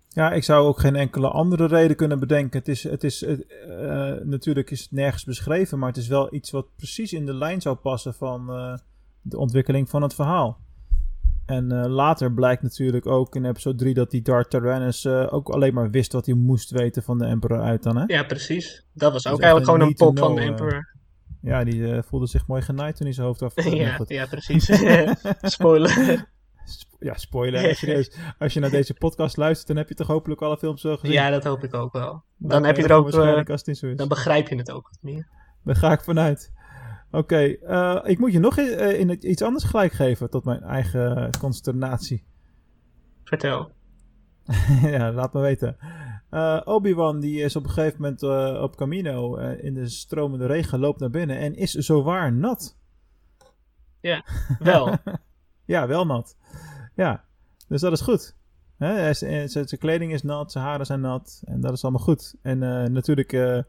Ja, ik zou ook geen enkele andere reden kunnen bedenken. Het is, het is het, eh, natuurlijk is het nergens beschreven, maar het is wel iets wat precies in de lijn zou passen van eh, de ontwikkeling van het verhaal. En eh, later blijkt natuurlijk ook in episode 3 dat die Darth Tyrannus eh, ook alleen maar wist wat hij moest weten van de Emperor uit dan, hè?
Ja, precies. Dat was ook
echt
eigenlijk
een
gewoon een
need to
pop van de
know, eh,
Emperor.
Ja, die eh, voelde zich mooi genaaid toen hij zijn hoofd af... Nou,
ja,
goed.
ja, precies. Spoiler.
Sp- Ja, spoiler. Serieus. Als je naar deze podcast luistert, dan heb je toch hopelijk alle films zo gezien.
ja, dat hoop ik ook wel.
Maar
Dan heb je
eh,
er ook...
waarschijnlijk
eh,
als het niet zo is.
dan begrijp je het ook wat meer.
Daar ga ik vanuit. Oké, eh, ik moet je nog i- eh, in het- iets anders gelijk geven tot mijn eigen eh, consternatie.
Vertel.
ja, laat me weten. Eh, Obi-Wan die is op een gegeven moment eh, op Camino eh, in de stromende regen loopt naar binnen en is zowaar nat.
Wel.
Ja, wel nat. Ja, dus dat is goed. Hè, hij is- eh, Zijn zijn kleding is nat, zijn haren zijn nat en dat is allemaal goed. En eh, natuurlijk eh,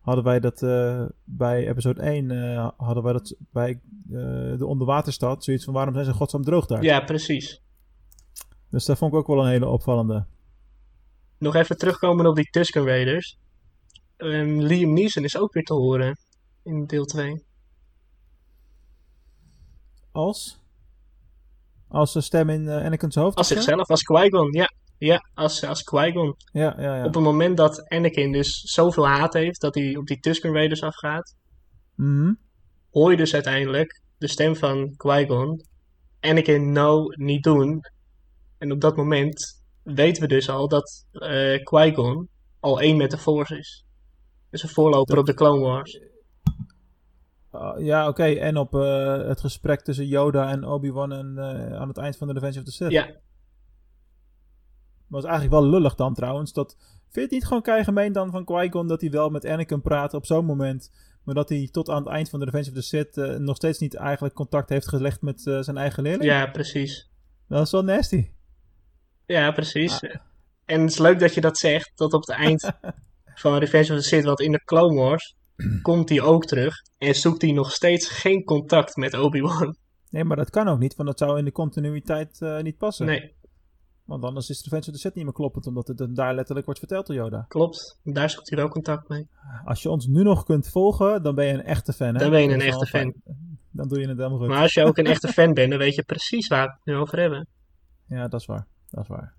hadden wij dat eh, bij episode 1, eh, hadden wij dat bij eh, de onderwaterstad, zoiets van waarom zijn ze in godsnaam droog daar?
ja, precies.
Dus dat vond ik ook wel een hele opvallende.
Nog even terugkomen op die Tusken Raiders. Ehm, Liam Neeson is ook weer te horen. In deel 2.
Als? Als de stem in eh, Anakin's hoofd?
Als
of zo?
zichzelf, als Qui-Gon. Ja, ja als, als Qui-Gon.
Ja, ja, ja.
Op het moment dat Anakin dus zoveel haat heeft dat hij op die Tusken Raiders afgaat,
Mhm.
hoor je dus uiteindelijk de stem van Qui-Gon. Anakin, no, niet doen. En op dat moment weten we dus al dat eh Qui-Gon al één met de Force is. Dus een voorloper op de Clone Wars.
Ah, ja, oké. En op eh, het gesprek tussen Yoda en Obi-Wan en, eh, aan het eind van The Revenge of the Sith.
Ja,
Maar het is eigenlijk wel lullig dan trouwens. Dat, vind je het niet gewoon keigemeen dan van Qui-Gon dat hij wel met Anakin praat op zo'n moment. Maar dat hij tot aan het eind van The Revenge of the Sith eh, nog steeds niet eigenlijk contact heeft gelegd met eh, zijn eigen leerling?
ja, precies.
Dat is wel nasty.
Ja, precies. En het is leuk dat je dat zegt, dat op het eind van Revenge of the Sith, want in de Clone Wars komt hij ook terug en zoekt hij nog steeds geen contact met Obi-Wan.
Nee, maar dat kan ook niet, want dat zou in de continuïteit eh, niet passen.
Nee.
Want anders is de Revenge of the Sith niet meer kloppend, omdat het dan daar letterlijk wordt verteld door Yoda.
Klopt, daar zoekt hij wel contact mee.
Als je ons nu nog kunt volgen, dan ben je een echte fan. Hè?
Dan ben je
Dat
een
is wel
echte fan.
fijn. Dan doe je het helemaal goed.
Maar als je ook een echte fan bent, dan weet je precies waar we het nu over hebben.
Ja, dat is waar. Dat is waar.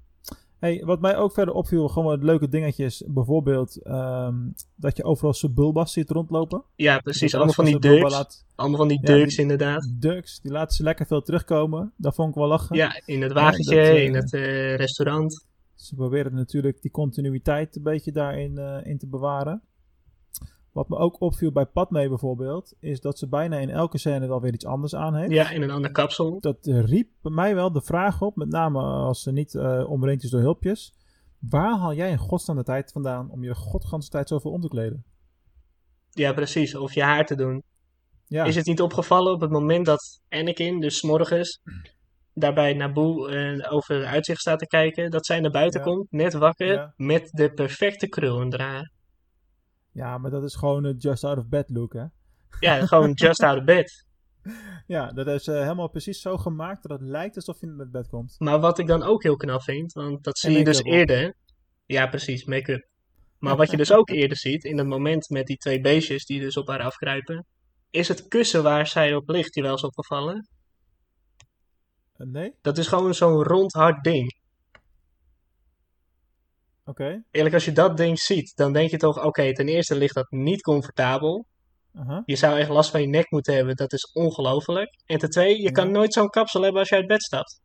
Hey, wat mij ook verder opviel, gewoon wat leuke dingetjes. Bijvoorbeeld ehm, dat je overal Sebulbas ziet rondlopen.
Ja, precies.
Dat
Allemaal
was
van die
van Sebulba
ducks.
laat-
Allemaal van die
Ja,
ducks,
die-
inderdaad.
Ducks, die laten ze lekker veel terugkomen. Daar vond ik wel lachen.
Ja, in het wagentje,
dat, eh,
in het eh, restaurant.
Ze proberen natuurlijk die continuïteit een beetje daarin eh, in te bewaren. Wat me ook opviel bij Padme bijvoorbeeld, is dat ze bijna in elke scène wel weer iets anders aan heeft.
Ja, in een ander kapsel.
Dat eh, riep bij mij wel de vraag op, met name als ze niet eh omringd is door hulpjes. Waar haal jij in godsnaam de tijd vandaan om je godganse tijd zoveel om te kleden?
Ja, precies. Of je haar te doen.
Ja,
Is het niet opgevallen op het moment dat Anakin, dus 's morgens,
Mm.
daarbij Naboo eh, over het uitzicht staat te kijken, dat zij naar buiten
Ja.
komt, net wakker,
Ja.
met de perfecte krul in haar haar.
ja maar dat is gewoon een just out of bed look, hè?
Ja, gewoon just out of bed.
Ja, dat is eh, helemaal precies zo gemaakt dat het lijkt alsof je in het bed komt.
Maar wat ik dan ook heel knap vind, want dat zie
En
je dus
make-up op.
eerder. Ja, precies, make-up. Maar wat je dus ook eerder ziet, in dat moment met die twee beestjes die dus op haar afkruipen, is het kussen waar zij op ligt, die wel is opgevallen.
Eh, nee? Oké.
Dat is gewoon zo'n rond hard ding. Eerlijk, als je dat ding ziet, dan denk je toch, oké, ten eerste ligt dat niet comfortabel.
Aha.
Je zou echt last van je nek moeten hebben, dat is ongelooflijk. En ten tweede, je kan nooit zo'n kapsel hebben als je uit bed stapt.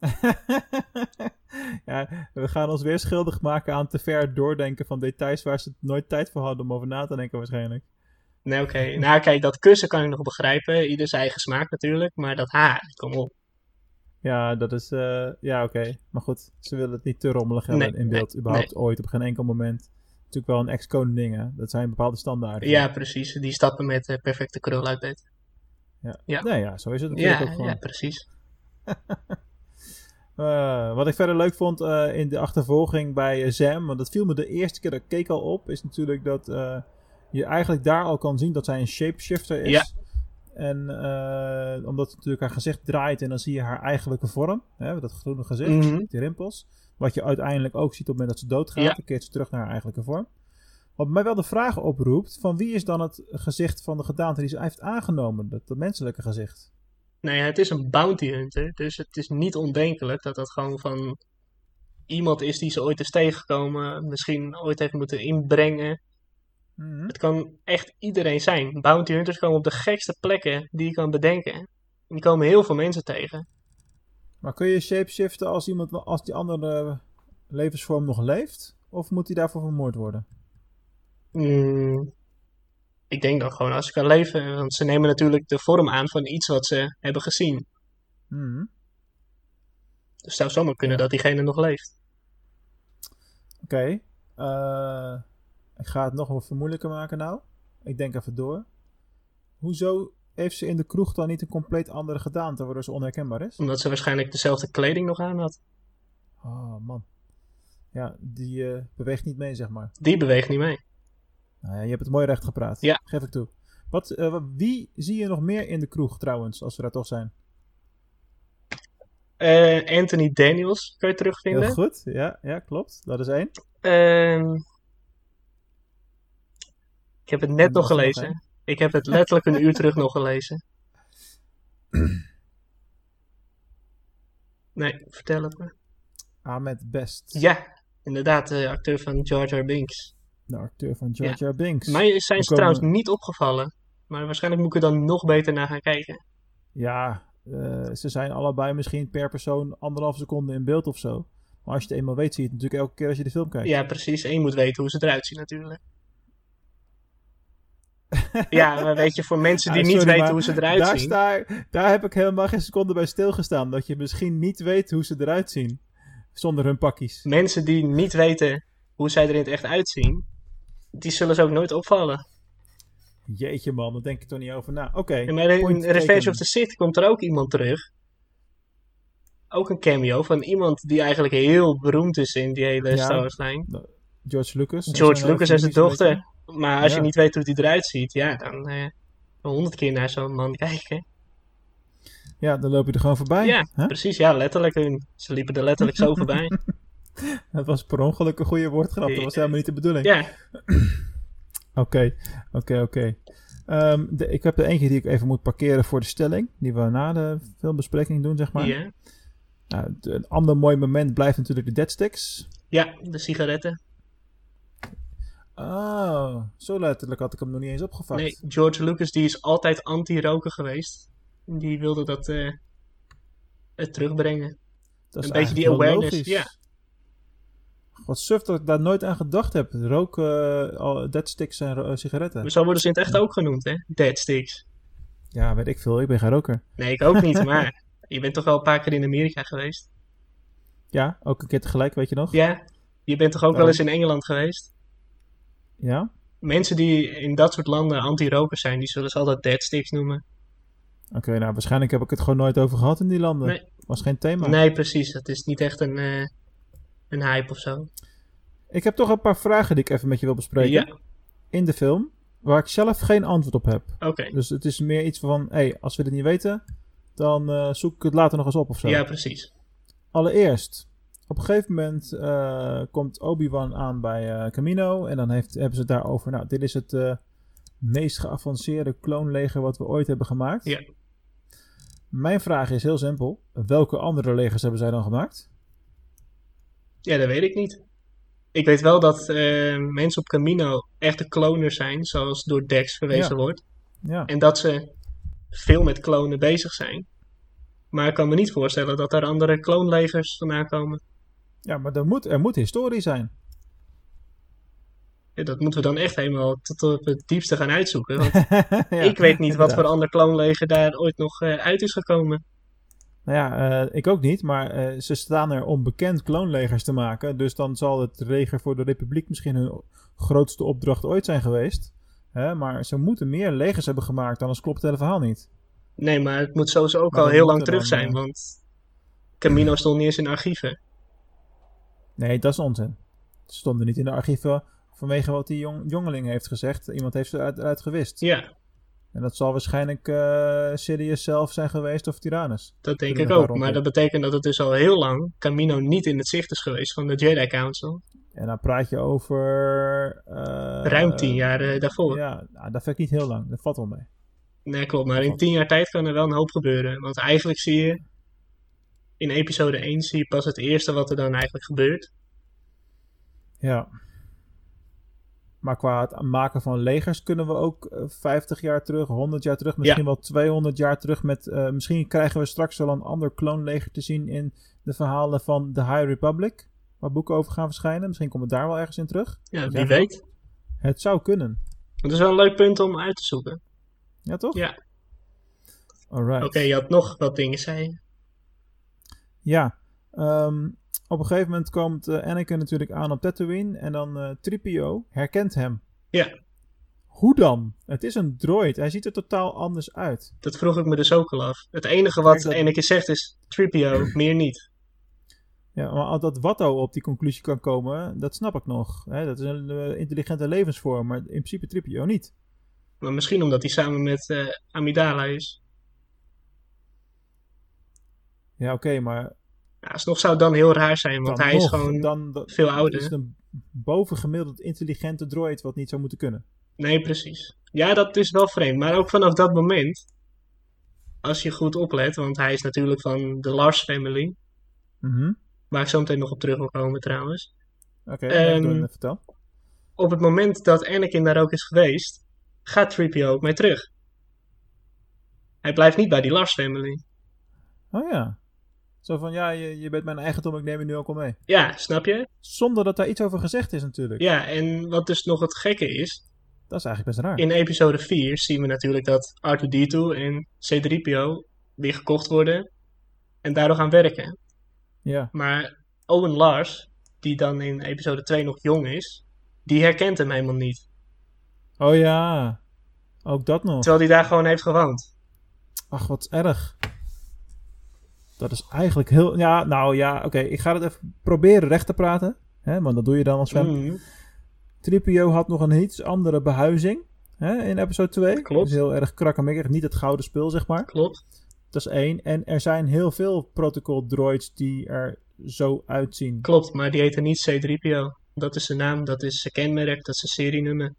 ja, we gaan ons weer schuldig maken aan te ver doordenken van details waar ze nooit tijd voor hadden om over na te denken waarschijnlijk.
Nee, oké. Nou, kijk, dat kussen kan ik nog begrijpen. Ieder zijn eigen smaak natuurlijk, maar dat haar, kom op.
Ja, dat is... eh, ja, oké. Maar goed, ze willen het niet te rommelig hebben
Nee,
in beeld.
nee,
überhaupt ooit, op geen enkel moment. Natuurlijk wel een ex-koning, hè. Dat zijn bepaalde standaarden.
Ja, precies. Die stappen met eh, perfecte krul uit bed. ja.
Nee, ja, zo is het natuurlijk ook
Ja,
gewoon.
ja, precies.
Eh, wat ik verder leuk vond eh, in de achtervolging bij eh, Zam, want dat viel me de eerste keer dat ik keek al op, is natuurlijk dat eh, je eigenlijk daar al kan zien dat zij een shapeshifter is.
Ja.
En eh, omdat het natuurlijk haar gezicht draait en dan zie je haar eigenlijke vorm, hè, dat groene gezicht,
Mhm.
die rimpels. Wat je uiteindelijk ook ziet op het moment dat ze doodgaat,
Ja.
dan keert ze terug naar haar eigenlijke vorm. Wat mij wel de vraag oproept, van wie is dan het gezicht van de gedaante die ze heeft aangenomen, dat, dat menselijke gezicht?
Nou ja, het is een bounty hunter, dus het is niet ondenkelijk dat dat gewoon van iemand is die ze ooit is tegengekomen, misschien ooit heeft moeten inbrengen.
Mhm.
Het kan echt iedereen zijn. Bounty hunters komen op de gekste plekken die je kan bedenken. En die komen heel veel mensen tegen.
Maar kun je shapeshiften als iemand als die andere eh, levensvorm nog leeft? Of moet hij daarvoor vermoord worden?
Mm, ik denk dan gewoon als ik kan leven, want ze nemen natuurlijk de vorm aan van iets wat ze hebben gezien.
Hmm.
Dus het zou zomaar kunnen dat diegene nog leeft.
Oké. Eh, ik ga het nog wat vermoeilijker maken nou. Ik denk even door. Hoezo heeft ze in de kroeg dan niet een compleet andere gedaante waardoor ze onherkenbaar is?
Omdat ze waarschijnlijk dezelfde kleding nog aan had.
Oh man. Ja, die eh, beweegt niet mee, zeg maar.
Die beweegt niet mee.
Nou ja, je hebt het mooi recht gepraat.
Ja.
Geef ik toe. Wat, eh, wat- wie zie je nog meer in de kroeg trouwens, als we daar toch zijn?
Eh, Anthony Daniels kun
Heel
je terugvinden.
goed. Ja, ja, klopt. Dat is één.
Ehm, ik heb het net
En
nog
dat is nog
gelezen. ik heb het letterlijk een uur terug nog gelezen. Nee, vertel het me.
Ahmed Best.
Ja, inderdaad, de acteur van Jar Jar Binks.
De acteur van Georgia Binks.
Mij zijn
We
ze
komen-
trouwens niet opgevallen. Maar waarschijnlijk moet ik er dan nog beter naar gaan kijken.
Ja, eh, ze zijn allebei misschien per persoon anderhalf seconde in beeld of zo. Maar als je het eenmaal weet, zie je het natuurlijk elke keer als je de film kijkt.
Ja, precies. En je moet weten hoe ze eruit zien natuurlijk. Ja, maar weet je, voor mensen die
Ah,
niet
sorry,
weten
maar
hoe ze eruit
daar
zien.
Sta, daar heb ik helemaal geen seconde bij stilgestaan. Dat je misschien niet weet hoe ze eruit zien. Zonder hun pakjes.
mensen die niet weten hoe zij er in het echt uitzien, die zullen ze ook nooit opvallen.
Jeetje man, daar denk ik toch niet over na. Oké.
En bij in
point
Revenge
taken.
of the Sith komt er ook iemand terug. Ook een cameo van iemand die eigenlijk heel beroemd is in die hele
Ja.
Star Wars lijn.
George Lucas. nou en
George
zijn hele
Lucas en zijn
familie zo'n beetje.
dochter. Maar als je
Ja.
niet weet hoe die eruit ziet, ja, dan eh, honderd keer naar zo'n man kijken.
Ja, dan loop je er gewoon voorbij.
Ja,
hè?
precies. Ja, letterlijk. hun. Ze liepen er letterlijk zo voorbij.
Dat was per ongeluk een goede woordgrap. Dat was helemaal niet de bedoeling.
Ja,
Oké, oké, oké. Ehm, de- Ik heb er eentje die ik even moet parkeren voor de stelling. Die we na de filmbespreking doen, zeg maar.
ja.
Nou, de- een ander mooi moment blijft natuurlijk de deadsticks.
ja, de sigaretten.
Oh, zo letterlijk had ik hem nog niet eens opgevat.
Nee, George Lucas die is altijd anti-roken geweest. Die wilde dat eh, eh, terugbrengen.
dat is
een beetje die
eigenlijk wel
awareness,
logisch.
ja.
Wat suf dat ik daar nooit aan gedacht heb. Roken, eh, al deadsticks en ro- eh, sigaretten.
Maar zo worden ze in het echt ook genoemd, hè? Dead sticks.
Ja, weet ik veel. Ik ben geen roker.
Nee, ik ook niet, maar je bent toch wel een paar keer in Amerika geweest?
Ja, ook een keer tegelijk, weet je nog?
Ja, je bent toch ook wel eens in Engeland geweest?
Ja?
Mensen die in dat soort landen anti-roken zijn, die zullen ze altijd dead sticks noemen.
Oké, nou waarschijnlijk heb ik het gewoon nooit over gehad in die landen.
Nee.
Was geen thema.
Nee, precies. Dat is niet echt een, eh, een hype of zo.
Ik heb toch een paar vragen die ik even met je wil bespreken.
Ja,
In de film, waar ik zelf geen antwoord op heb.
oké.
Dus het is meer iets van, hé, hey, als we dit niet weten, dan eh, zoek ik het later nog eens op of zo.
Ja, precies.
Allereerst, op een gegeven moment eh, komt Obi-Wan aan bij eh Camino. En dan heeft, hebben ze het daarover. Nou, dit is het eh, meest geavanceerde kloonleger wat we ooit hebben gemaakt.
Ja.
Mijn vraag is heel simpel. Welke andere legers hebben zij dan gemaakt?
Ja, dat weet ik niet. Ik weet wel dat eh, mensen op Camino echte kloners zijn, zoals door Dex verwezen
Ja.
wordt.
Ja.
En dat ze veel met klonen bezig zijn. Maar ik kan me niet voorstellen dat daar andere kloonlegers vandaan komen.
Ja, maar er moet, er moet historie zijn.
Ja, dat moeten we dan echt helemaal tot op het diepste gaan uitzoeken. Want
Ja,
ik weet niet wat
inderdaad.
voor ander kloonleger daar ooit nog eh, uit is gekomen.
Nou ja, eh, ik ook niet, maar eh, ze staan er om bekend kloonlegers te maken. Dus dan zal het leger voor de Republiek misschien hun grootste opdracht ooit zijn geweest. Hè, maar ze moeten meer legers hebben gemaakt, anders klopt het hele verhaal niet.
Nee, maar het moet sowieso ook
Maar
al
dat
heel
moet
lang
er
terug
dan,
zijn,
eh,
want Camino stond niet eens in archieven.
Nee, dat is onzin. Ze stonden niet in de archieven vanwege wat die jong- jongeling heeft gezegd. Iemand heeft ze uit- eruit gewist.
Ja,
En dat zal waarschijnlijk eh Sirius zelf zijn geweest of Tyrannus.
dat denk
Toen
ik
er
ook.
daar
Maar dat
rond
betekent dat het dus al heel lang Camino niet in het zicht is geweest van de Jedi Council.
En dan praat je over... eh,
Ruim tien jaar eh, daarvoor.
Ja, nou, dat vind ik niet heel lang. Dat valt wel mee.
Nee, klopt. Maar in tien jaar tijd kan er wel een hoop gebeuren. Want eigenlijk zie je... In episode 1 zie je pas het eerste wat er dan eigenlijk gebeurt.
Ja. Maar qua het maken van legers kunnen we ook eh, 50 jaar terug, 100 jaar terug, misschien wel 200 jaar terug. Met, eh, misschien krijgen we straks wel een ander kloonleger te zien in de verhalen van The High Republic. Waar boeken over gaan verschijnen. Misschien komen we daar wel ergens in terug.
Ja, wie
Ja.
weet.
Het zou kunnen.
Dat is wel een leuk punt om uit te zoeken.
Ja, toch?
Ja.
Alright.
Oké, je had nog wat dingen, zei je.
Ja. ehm, op een gegeven moment komt eh, Anakin natuurlijk aan op Tatooine. En dan eh Tripio herkent hem.
Ja.
Hoe dan? Het is een droid. Hij ziet er totaal anders uit.
Dat vroeg ik me dus ook al af. Het enige wat
Kijk, dat-
Anakin zegt is... Tripio, meer niet.
Ja, maar al dat Watto op die conclusie kan komen, dat snap ik nog. Hè? Dat is een eh, intelligente levensvorm, maar in principe Tripio niet.
Maar misschien omdat hij samen met eh, Amidala is.
Ja, oké, maar
Ja, alsnog zou het dan heel raar zijn,
dan
want hij is
nog,
gewoon...
dan, dan-
veel ouder.
Is het een bovengemiddeld intelligente droid wat niet zou moeten kunnen.
Nee, precies. Ja, dat is wel vreemd. Maar ook vanaf dat moment, als je goed oplet, want hij is natuurlijk van de Lars family,
Mhm.
waar ik zo meteen nog op terug wil komen trouwens.
Oké,
Ehm,
dan, eh, vertel.
Op het moment dat Anakin daar ook is geweest, gaat Tripio ook mee terug. Hij blijft niet bij die Lars family.
Oh ja. Zo van, ja, je, je bent mijn eigendom, ik neem je nu ook al mee.
Ja, snap je?
Zonder dat daar iets over gezegd is natuurlijk.
Ja, en wat dus nog het gekke is,
Dat is eigenlijk best raar.
in episode 4 zien we natuurlijk dat R2-D2 en C-3PO weer gekocht worden en daardoor gaan werken.
Ja,
Maar Owen Lars, die dan in episode 2 nog jong is, die herkent hem helemaal niet.
oh ja. Ook dat nog.
Terwijl hij daar gewoon heeft gewoond.
Ach, wat erg. Dat is eigenlijk heel. Ja, nou ja, oké. Ik ga het even proberen recht te praten. Hè, want dat doe je dan als fan.
Mm.
Tripio had nog een iets andere behuizing. Hè, in episode 2.
Klopt.
Dus heel erg krakkemikkig. Niet het gouden spul, zeg maar.
Klopt.
Dat is één. En er zijn heel veel protocol droids die er zo uitzien.
Klopt, maar die heten niet C3PO. Dat is zijn naam, dat is zijn kenmerk, dat is zijn serienummer.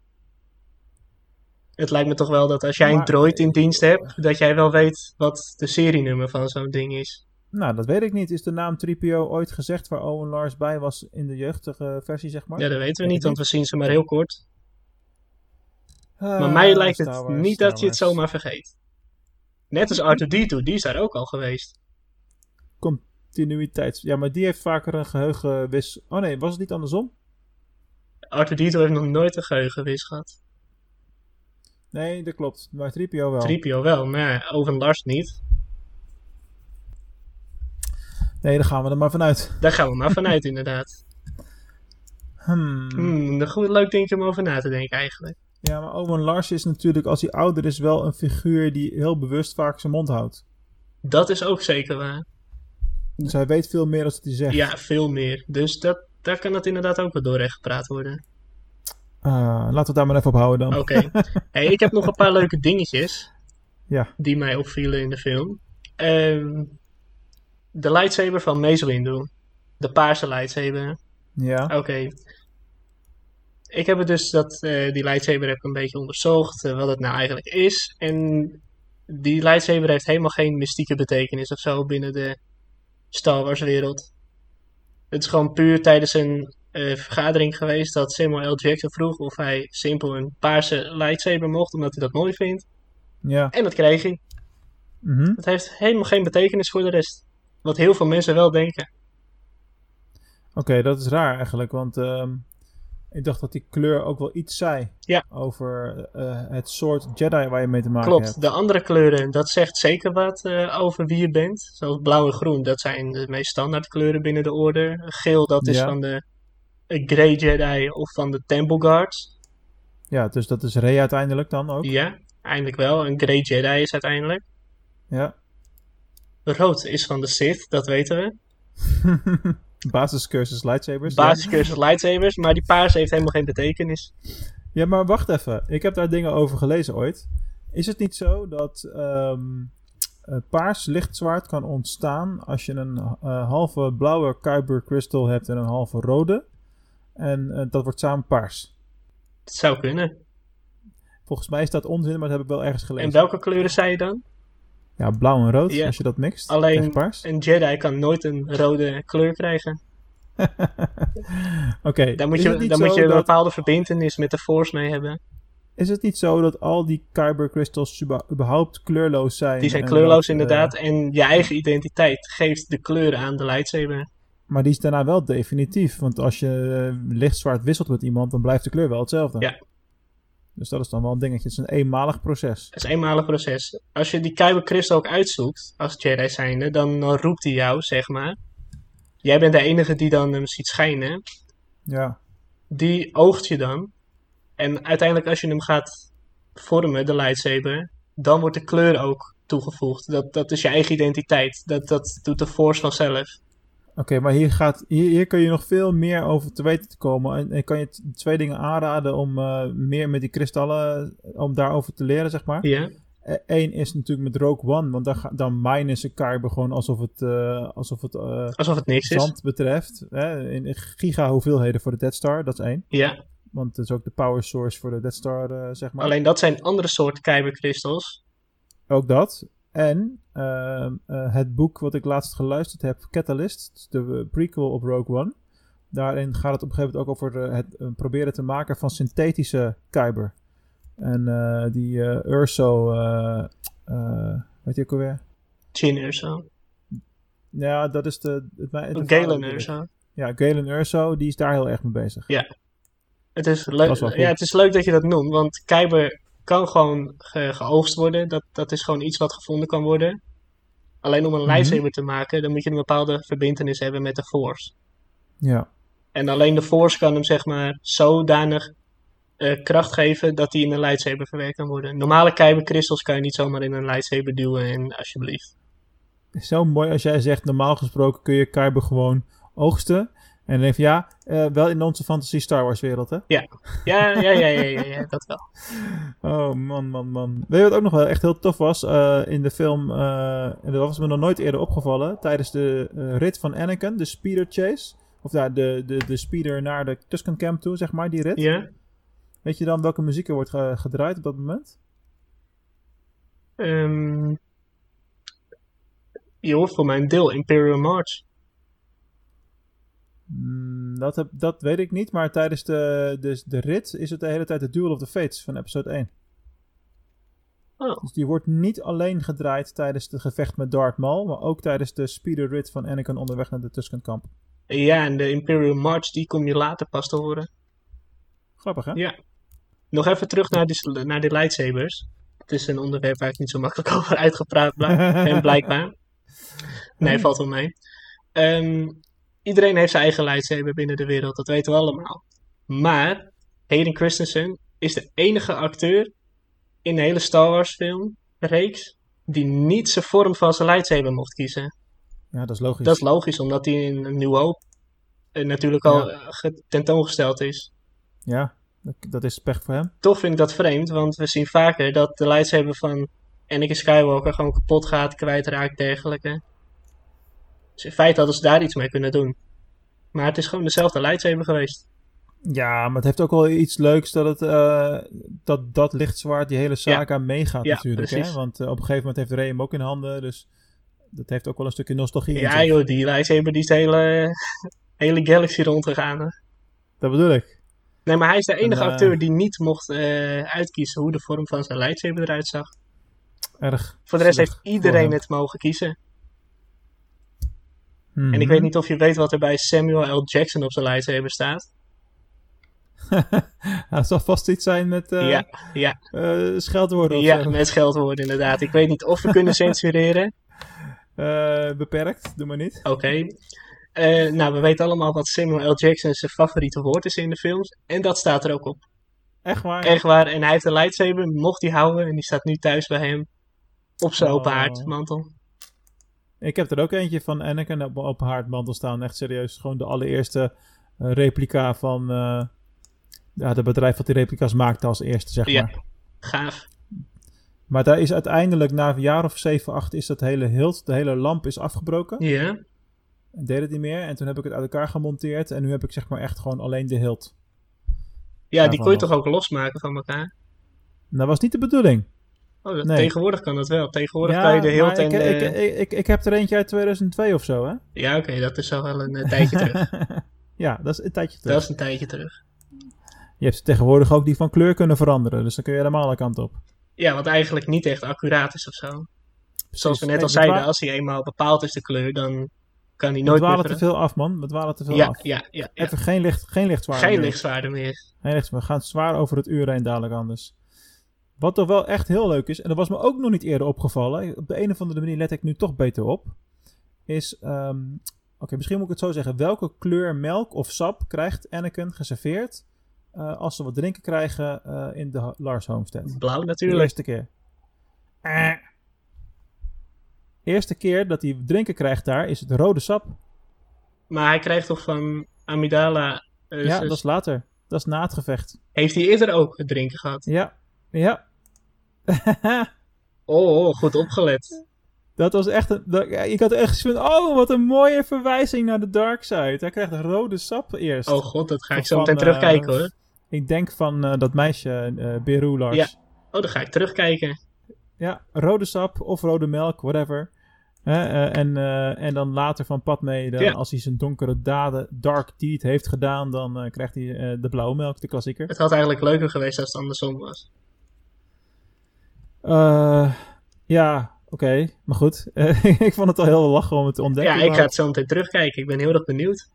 Het lijkt me toch wel dat als jij een
Maar-
droid in dienst hebt, dat jij wel weet wat de serienummer van zo'n ding is.
Nou, dat weet ik niet. Is de naam 3PO ooit gezegd waar Owen Lars bij was in de jeugdige versie, zeg maar?
Ja, dat weten we
ik
niet, want we zien ze maar heel kort.
Ah,
Maar mij lijkt het
Star Wars,
niet
Star
dat je het
Wars.
zomaar vergeet. Net als R2D2, die is daar ook al geweest.
Continuïteit. Ja, maar die heeft vaker een geheugenwis... Oh nee, was het niet andersom?
R2D2 heeft nog nooit een geheugenwis gehad.
Nee, dat klopt. Maar 3PO wel.
3PO wel, maar ja, Owen Lars niet.
Nee, daar gaan we er maar vanuit.
Daar gaan we maar vanuit, inderdaad.
Hmm.
Hmm, een goed leuk dingetje om over na te denken eigenlijk.
Ja, maar Owen Lars is natuurlijk, als hij ouder is, wel een figuur die heel bewust vaak zijn mond houdt.
Dat is ook zeker waar.
Dus hij weet veel meer dan dat hij zegt.
Ja, veel meer. Dus dat, daar kan dat inderdaad ook wel doorheen gepraat worden.
Ah, laten we het daar maar even op houden dan.
Oké. Hey, ik heb nog een paar leuke dingetjes
Ja.
die mij opvielen in de film. Ehm, de lightsaber van Mace Windu. De paarse lightsaber.
Ja.
Oké. Ik heb het dus dat, eh, die lightsaber heb ik een beetje onderzocht, eh, wat het nou eigenlijk is. En die lightsaber heeft helemaal geen mystieke betekenis of zo binnen de Star Wars wereld. Het is gewoon puur tijdens een eh, vergadering geweest dat Samuel L. Jackson vroeg of hij simpel een paarse lightsaber mocht, omdat hij dat mooi vindt.
Ja.
En dat kreeg hij.
Mhm.
Het heeft helemaal geen betekenis voor de rest. Wat heel veel mensen wel denken.
Oké, dat is raar eigenlijk, want ehm, ik dacht dat die kleur ook wel iets zei.
Ja.
Over eh, het soort Jedi waar je mee te maken
Klopt,
hebt.
de andere kleuren, dat zegt zeker wat eh, over wie je bent. Zoals blauw en groen, dat zijn de meest standaard kleuren binnen de orde. Geel, dat is
Ja.
van de eh, Grey Jedi of van de Temple Guards.
Ja, dus dat is Rey uiteindelijk dan ook.
Ja, eindelijk wel. Een Grey Jedi is uiteindelijk.
Ja.
Rood is van de Sith, dat weten we.
Basiscursus lightsabers. ja.
Basiscursus lightsabers, maar die paars heeft helemaal geen betekenis.
Ja, maar wacht even. Ik heb daar dingen over gelezen ooit. Is het niet zo dat ehm, eh, paars lichtzwaard kan ontstaan als je een eh, halve blauwe Kyber crystal hebt en een halve rode? En eh, dat wordt samen paars.
Dat zou kunnen.
Volgens mij is dat onzin, maar dat heb ik wel ergens gelezen.
En welke kleuren zei je dan?
Ja, blauw en rood,
Ja.
als je dat mixt. krijg je
Alleen
paars.
een Jedi kan nooit een rode kleur krijgen.
Oké,
Daar moet
is het
je,
niet
daar moet
zo
je een
dat-
bepaalde verbindenis met de Force mee hebben.
Is het niet zo dat al die Kyber crystals uba- überhaupt kleurloos zijn?
Die zijn
en
kleurloos
dat, eh,
inderdaad. En je eigen identiteit geeft de kleur aan de lightsaber.
Maar die is daarna wel definitief. Want als je eh, lichtzwaard wisselt met iemand, dan blijft de kleur wel hetzelfde.
Ja.
Dus dat is dan wel een dingetje. Het is een eenmalig proces.
Dat is een eenmalig proces. Als je die Kyber Crystal ook uitzoekt, als Jedi zijnde, dan, dan roept hij jou, zeg maar. Jij bent de enige die dan hem ziet schijnen.
Ja.
Die oogt je dan. En uiteindelijk als je hem gaat vormen, de lightsaber, dan wordt de kleur ook toegevoegd. Dat, dat is je eigen identiteit. Dat, dat doet de Force vanzelf.
Oké, maar hier, gaat, hier, hier kun je nog veel meer over te weten te komen. En, en kan je t- twee dingen aanraden om eh, meer met die kristallen, om daarover te leren, zeg maar.
Ja.
Eén Eh, is natuurlijk met Rogue One, want dan, ga- dan minen ze Kyber gewoon alsof het, eh, alsof het eh,
Alsof het niks is.
zand betreft. Hè? In in giga hoeveelheden voor de Death Star, dat is één.
Ja.
Want het is ook de power source voor de Death Star, eh, zeg maar.
Alleen dat zijn andere soorten Kyber Crystals.
Ook dat. En ehm, eh, het boek wat ik laatst geluisterd heb, Catalyst, de eh, prequel op Rogue One. Daarin gaat het op een gegeven moment ook over eh, het eh, proberen te maken van synthetische kyber. En eh, die eh, Urso, eh eh weet je ook alweer?
Chin Urso.
Ja, dat is de... Het, mij- het-
Galen Urso.
Ja, Galen Urso, die is daar heel erg mee bezig.
Het
was
is,
wel
leuk,
goed.
ja, het is leuk dat je dat noemt, want Kyber kan gewoon ge- geoogst worden. Dat, dat is gewoon iets wat gevonden kan worden. Alleen om
Mhm.
een lightsaber te maken, dan moet je een bepaalde verbintenis hebben met de Force.
Ja.
En alleen de Force kan hem zeg maar zodanig eh, kracht geven dat hij in een lightsaber verwerkt kan worden. Normale Kyber crystals kan je niet zomaar in een lightsaber duwen, en, alsjeblieft.
Zo mooi als jij zegt, normaal gesproken kun je kyber gewoon oogsten. En dan denk ik van, ja, eh, wel in onze fantasy Star Wars wereld, hè?
Ja, ja, ja, ja, ja, ja, dat wel.
Oh, man, man, man. Weet je wat ook nog wel echt heel tof was? Eh, in de film, eh, en dat was me nog nooit eerder opgevallen, tijdens de eh, rit van Anakin, de speeder chase. Of ja, de, de, de speeder naar de Tusken Camp toe, zeg maar, die rit.
Ja.
Weet je dan welke muziek er wordt eh, gedraaid op dat moment?
Ehm je hoort voor mijn deel Imperial March.
Mm, dat, heb, dat weet ik niet, maar tijdens de, de, de rit is het de hele tijd de Duel of the Fates van episode 1.
Oh.
Dus die wordt niet alleen gedraaid tijdens het gevecht met Darth Maul, maar ook tijdens de speeder rit van Anakin onderweg naar de Tusken Camp.
Ja, en de Imperial March, die kom je later pas te horen.
Grappig, hè?
Ja. Nog even terug naar die, sl- naar die lightsabers. Het is een onderwerp waar ik niet zo makkelijk over uitgepraat bla- ben, blijkbaar. Nee, valt wel mee. Ehm, iedereen heeft zijn eigen lightsaber binnen de wereld, dat weten we allemaal. Maar Hayden Christensen is de enige acteur in de hele Star Wars film reeks die niet zijn vorm van zijn lightsaber mocht kiezen.
Ja, dat is logisch.
Dat is logisch, omdat die in New Hope eh, natuurlijk al
Ja.
eh, ge- tentoongesteld is.
Ja, dat, dat is pech voor hem.
Toch vind ik dat vreemd, want we zien vaker dat de lightsaber van Anakin Skywalker gewoon kapot gaat, kwijtraakt, dergelijke. Dus in feite hadden ze daar iets mee kunnen doen. Maar het is gewoon dezelfde lightsaber geweest.
Ja, maar het heeft ook wel iets leuks dat het, eh, dat, dat lichtzwaard die hele saga meegaat
Ja,
natuurlijk. Hè?
precies.
Want eh, op een gegeven moment heeft Rey hem ook in handen, dus dat heeft ook wel een stukje nostalgie in
Ja
zich.
joh, die lightsaber die is de hele, hele galaxy rondgegaan. hè.
Dat bedoel ik.
Nee, maar hij is de enige
eh,
acteur die niet mocht eh, uitkiezen hoe de vorm van zijn lightsaber eruit zag.
Erg.
Voor de
zielig
rest heeft
voor hem.
iedereen het mogen kiezen. En ik
Mhm.
weet niet of je weet wat er bij Samuel L. Jackson op zijn lightsaber staat.
Het zal vast iets zijn met eh
ja, ja,
eh, scheldwoorden of
ja,
zo.
met scheldwoorden inderdaad. Ik weet niet of we kunnen censureren.
Eh, beperkt, doe maar niet.
Oké. Eh, nou, we weten allemaal wat Samuel L. Jackson zijn favoriete woord is in de films. En dat staat er ook op.
Echt waar.
Echt waar. En hij heeft een lightsaber, mocht die houden. En die staat nu thuis bij hem. Op zijn open
Oh.
haardmantel.
Ik heb er ook eentje van Anakin op, op haar mantel staan. Echt serieus. Gewoon de allereerste eh, replica van eh ja, het bedrijf wat die replica's maakte als eerste, zeg
Ja.
maar.
Gaaf.
Maar daar is uiteindelijk na een jaar of 7, 8 is dat hele hilt, de hele lamp is afgebroken.
Ja.
En deed het niet meer. En toen heb ik het uit elkaar gemonteerd. En nu heb ik zeg maar echt gewoon alleen de hilt.
Ja, die
Daarvan
kon je
nog.
toch ook losmaken van elkaar?
En Nou, dat was niet de bedoeling.
Oh, dat-
Nee.
Tegenwoordig kan dat wel. Tegenwoordig kan je de
maar
hilt en
ik,
de...
ik, ik, ik, ik heb er eentje uit 2002 of zo, hè?
Ja, oké, dat is al wel een eh, tijdje terug.
ja, dat is een tijdje terug.
Dat is een tijdje terug.
Je hebt tegenwoordig ook die van kleur kunnen veranderen. Dus dan kun je helemaal alle kant op.
Ja, wat eigenlijk niet echt accuraat is of zo. Zoals we net al
Kijk,
zeiden,
dwa-
als hij eenmaal bepaald is de kleur, dan kan hij
We
nooit meer
dwalen te veel af, man. We dwalen te veel
ja,
af.
ja, ja, ja.
Even geen licht, geen lichtzwaar.
Geen
meer.
lichtzwaarde meer.
Geen licht. We gaan zwaar over het uur heen dadelijk anders. Wat toch wel echt heel leuk is, en dat was me ook nog niet eerder opgevallen. Op de een of andere manier let ik nu toch beter op. Is, ehm, oké, misschien moet ik het zo zeggen. Welke kleur melk of sap krijgt Anakin geserveerd eh, als ze wat drinken krijgen eh, in de Ha- Lars Homestead?
Blauw
De
natuurlijk.
eerste keer. Eh. Eerste keer dat hij drinken krijgt daar is het rode sap.
Maar hij krijgt toch van Amidala... eh,
ja,
dus-
dat is later. Dat is na het gevecht.
Heeft hij eerder ook het drinken gehad?
Ja, ja.
Oh, oh, goed opgelet.
dat was echt een. dat- ja, ik had echt zoiets van. Oh, wat een mooie verwijzing naar de dark side. Hij krijgt rode sap eerst.
Oh god, dat ga ik
Of
zo
van,
meteen terugkijken
eh,
hoor.
Ik denk van eh, dat meisje, eh Beru Lars.
Ja. Oh, dan ga ik terugkijken.
Ja, rode sap of rode melk, whatever. Hè, eh, en, eh, en dan later van Padme, dan,
Ja.
als hij zijn donkere daden, dark deed, heeft gedaan, dan eh, krijgt hij eh, de blauwe melk, de klassieker.
Het had eigenlijk leuker geweest als het andersom was.
Eh, ja, oké, maar goed. Eh, ik vond het al heel lachen om het te ontdekken.
Ja, ik ga
maar-
het zo meteen terugkijken. Ik ben heel erg benieuwd.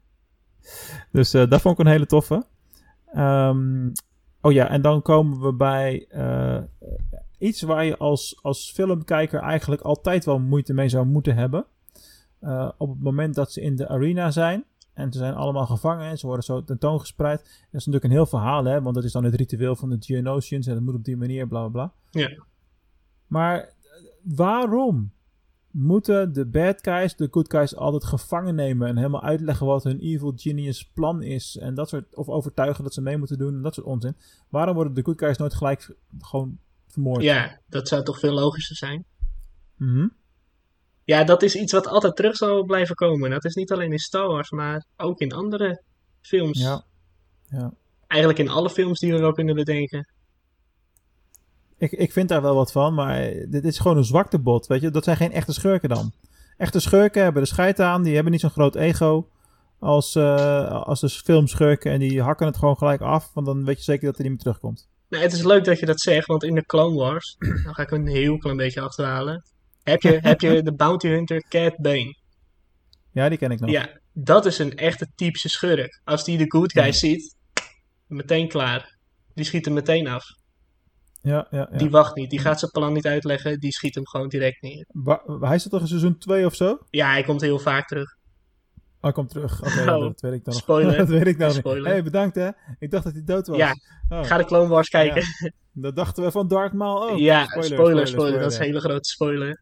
Dus eh dat vond ik een hele toffe. Ehm, oh ja, en dan komen we bij eh, iets waar je als, als filmkijker eigenlijk altijd wel moeite mee zou moeten hebben. Eh, op het moment dat ze in de arena zijn en ze zijn allemaal gevangen en ze worden zo tentoongespreid. Dat is natuurlijk een heel verhaal, hè, want dat is dan het ritueel van de Geonosians en dat moet op die manier, bla bla bla.
Ja.
Maar eh, waarom? moeten de bad guys de good guys altijd gevangen nemen en helemaal uitleggen wat hun evil genius plan is en dat soort, of overtuigen dat ze mee moeten doen en dat soort onzin. Waarom worden de good guys nooit gelijk v- gewoon vermoord?
Ja, dat zou toch veel logischer zijn?
Mhm.
Ja, dat is iets wat altijd terug zal blijven komen. Dat is niet alleen in Star Wars, maar ook in andere films.
ja.
Eigenlijk in alle films die we wel kunnen bedenken.
Ik, ik vind daar wel wat van, maar eh, dit is gewoon een zwaktebod, weet je. Dat zijn geen echte schurken dan. Echte schurken hebben de scheid aan, die hebben niet zo'n groot ego als, eh, als de filmschurken. En die hakken het gewoon gelijk af, want dan weet je zeker dat er niet meer terugkomt.
Nou, het is leuk dat je dat zegt, want in de Clone Wars, nou ga ik een heel klein beetje achterhalen, heb je, heb je de bounty hunter Cat Bane.
Ja, die ken ik nog.
Ja, dat is een echte typische schurk. Als die de good guy ziet, meteen klaar. Die schiet hem meteen af.
ja, ja, ja.
Die wacht niet, die gaat zijn plan niet uitleggen, die schiet hem gewoon direct neer.
Wa- hij zit toch in seizoen 2 of zo?
Ja, hij komt heel vaak terug.
Oh, kom terug. Oké,
Oh,
dat weet ik dan nog.
spoiler.
dat weet ik dan nog.
Spoiler.
hey, bedankt hè. Ik dacht dat hij dood was.
Ja,
Oh,
Ga de Clone Wars kijken.
Dat dachten we van Darth Maul ook.
ja, spoiler, spoiler, Dat is een hele grote spoiler.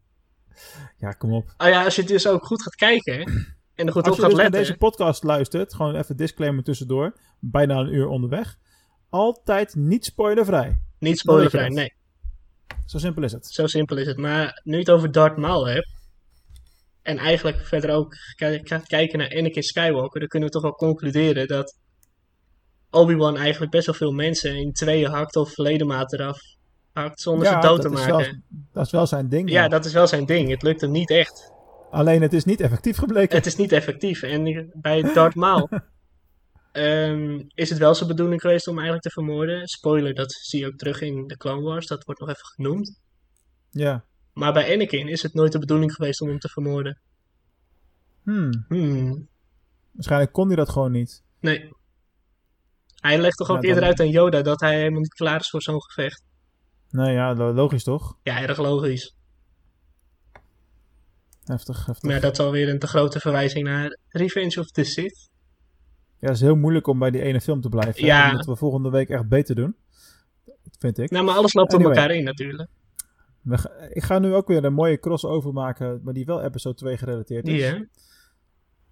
Ja, kom op.
Oh ja, als je het dus ook goed gaat kijken en er
Als je
goed op gaat
dus naar
letten.
deze podcast luistert, gewoon even disclaimer tussendoor, bijna een uur onderweg. Altijd niet spoilervrij.
Niet
Dan
spoilervrij,
weet je
nee.
Zo simpel is het.
Zo simpel is het. Maar nu je het over Darth Maul hebt. En eigenlijk verder ook k- gaat kijken naar Anakin Skywalker. Dan kunnen we toch wel concluderen dat Obi-Wan eigenlijk best wel veel mensen in tweeën hakt of ledematen eraf hakt zonder ze dood te
dat, is
maken.
wel, dat is wel zijn ding.
Ja,
ja.
dat is wel zijn ding. Het lukt hem niet echt.
Alleen het is niet effectief gebleken.
Het is niet effectief. En bij Darth Maul ehm, is het wel zijn bedoeling geweest om eigenlijk te vermoorden. Spoiler, dat zie je ook terug in de Clone Wars. Dat wordt nog even genoemd.
Ja.
Maar bij Anakin is het nooit de bedoeling geweest om hem te vermoorden.
Hmm.
Hmm,
Waarschijnlijk kon hij dat gewoon niet.
nee. Hij legt toch ook
Ja, dan-
eerder uit aan Yoda dat hij helemaal niet klaar is voor zo'n gevecht.
Nou ja, lo- logisch toch?
Ja, erg logisch.
Heftig, heftig.
Maar ja, dat is alweer een te grote verwijzing naar Revenge of the Sith.
Ja, het is heel moeilijk om bij die ene film te blijven.
Ja.
Dat moeten we volgende week echt beter doen. Dat vind ik.
Nou, maar alles loopt
Anyway.
op elkaar in natuurlijk.
We ga- ik ga nu ook weer een mooie crossover maken, maar die wel episode 2 gerelateerd is.
Ja.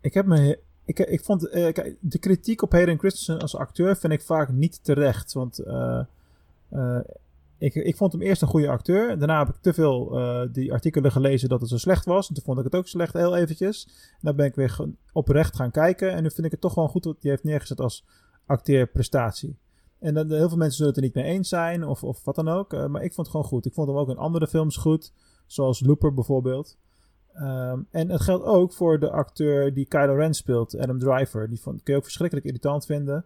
Ik heb me. Ik, ik vond. eh, kijk, de kritiek op Hayden Christensen als acteur vind ik vaak niet terecht. Want. eh, eh, ik, ik vond hem eerst een goede acteur. Daarna heb ik te veel eh, die artikelen gelezen dat het zo slecht was. En toen vond ik het ook slecht, heel eventjes. En dan ben ik weer ge- oprecht gaan kijken. En nu vind ik het toch gewoon goed wat hij heeft neergezet als acteerprestatie. En dan, heel veel mensen zullen het er niet mee eens zijn of, of wat dan ook. eh, maar ik vond het gewoon goed. Ik vond hem ook in andere films goed. Zoals Looper bijvoorbeeld. Ehm, en het geldt ook voor de acteur die Kylo Ren speelt, Adam Driver. Die vond, kun je ook verschrikkelijk irritant vinden.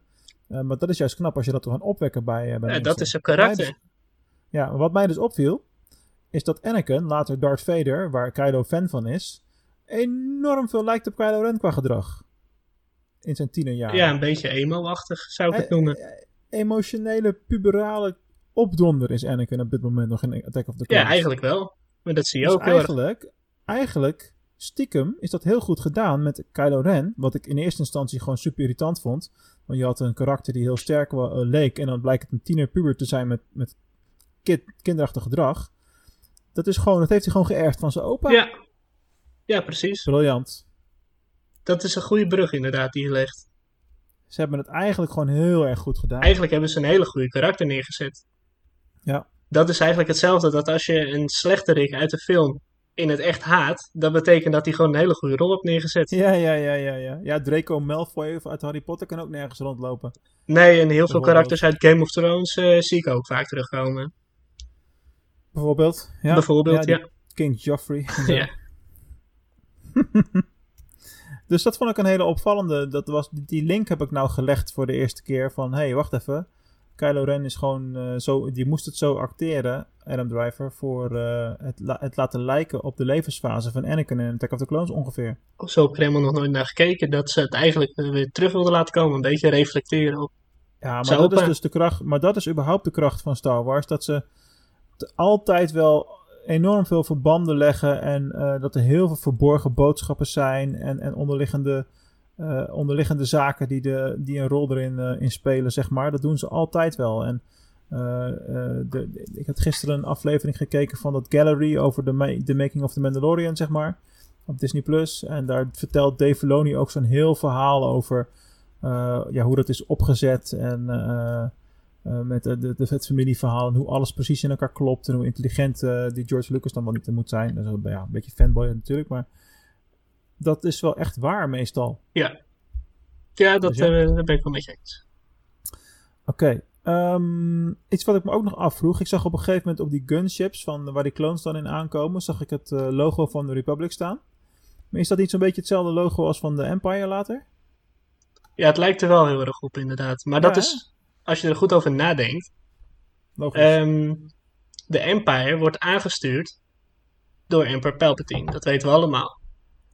Eh, maar dat is juist knap als je dat kan opwekken bij, eh, bij
Ja,
mensen.
dat is zijn
Wat mij
karakter.
dus- ja, maar wat mij dus opviel, is dat Anakin, later Darth Vader, waar Kylo fan van is, enorm veel lijkt op Kylo Ren qua gedrag. In zijn tienerjaren.
Ja, een beetje emo-achtig zou ik het
Eh,
noemen.
eh, Emotionele, puberale opdonder is Anakin op dit moment nog in Attack of the Clones.
Ja, eigenlijk wel. Maar dat zie je
Dus
ook heel erg.
eigenlijk, eigenlijk, stiekem, is dat heel goed gedaan met Kylo Ren. Wat ik in eerste instantie gewoon super irritant vond. Want je had een karakter die heel sterk wa- eh, leek. En dan blijkt het een tiener puber te zijn met, met kind, kinderachtig gedrag. Dat is gewoon, dat heeft hij gewoon geërfd van zijn opa.
Ja. ja, precies.
Briljant.
Dat is een goede brug inderdaad die je legt.
Ze hebben het eigenlijk gewoon heel erg goed gedaan.
Eigenlijk hebben ze een hele goede karakter neergezet.
Ja.
Dat is eigenlijk hetzelfde dat als je een slechterik uit de film in het echt haat, dat betekent dat hij gewoon een hele goede rol heeft neergezet.
Ja, ja, ja, ja, ja. Ja, Draco Malfoy uit Harry Potter kan ook nergens rondlopen.
Nee, en heel veel
Bijvoorbeeld.
karakters uit Game of Thrones eh, zie ik ook vaak terugkomen.
Bijvoorbeeld. Ja,
Bijvoorbeeld,
die
ja.
King Joffrey. en zo.
Ja.
Dus dat vond ik een hele opvallende. Dat was, die link heb ik nou gelegd voor de eerste keer. Van, hé, hey, wacht even. Kylo Ren is gewoon eh, zo... Die moest het zo acteren, Adam Driver... voor eh, het, la- het laten lijken op de levensfase van Anakin... in Attack of the Clones ongeveer.
Zo heb ik er helemaal nog nooit naar gekeken dat ze het eigenlijk eh, weer terug wilden laten komen. Een beetje reflecteren op.
Ja, maar
Zijn
dat
opa.
is dus de kracht... Maar dat is überhaupt de kracht van Star Wars. Dat ze t- altijd wel enorm veel verbanden leggen... en eh, dat er heel veel verborgen boodschappen zijn... en, en onderliggende... eh, onderliggende zaken die, de, die een rol erin eh, in spelen, zeg maar. Dat doen ze altijd wel. En eh, eh, de, de- ik had gisteren een aflevering gekeken van dat gallery over de, ma- de making of the Mandalorian, zeg maar. Op Disney Plus. En daar vertelt Dave Filoni ook zo'n heel verhaal over eh, ja, hoe dat is opgezet. En eh, eh, met de, de, de- het familieverhaal en hoe alles precies in elkaar klopt. En hoe intelligent eh, die George Lucas dan wel niet moet zijn. Dat is wel, ja, een beetje fanboy natuurlijk, maar dat is wel echt waar meestal.
Ja, dat,
Dus ja.
eh, dat ben ik wel met je eens.
Oké. ehm, iets wat ik me ook nog afvroeg. Ik zag op een gegeven moment op die gunships, van waar die clones dan in aankomen, zag ik het eh, logo van de Republic staan. Maar is dat niet zo'n beetje hetzelfde logo als van de Empire later?
Ja, het lijkt er wel heel erg op inderdaad. Maar dat
Ja,
is, als je er goed over nadenkt,
Logisch.
ehm, de Empire wordt aangestuurd door Emperor Palpatine. Dat weten we allemaal.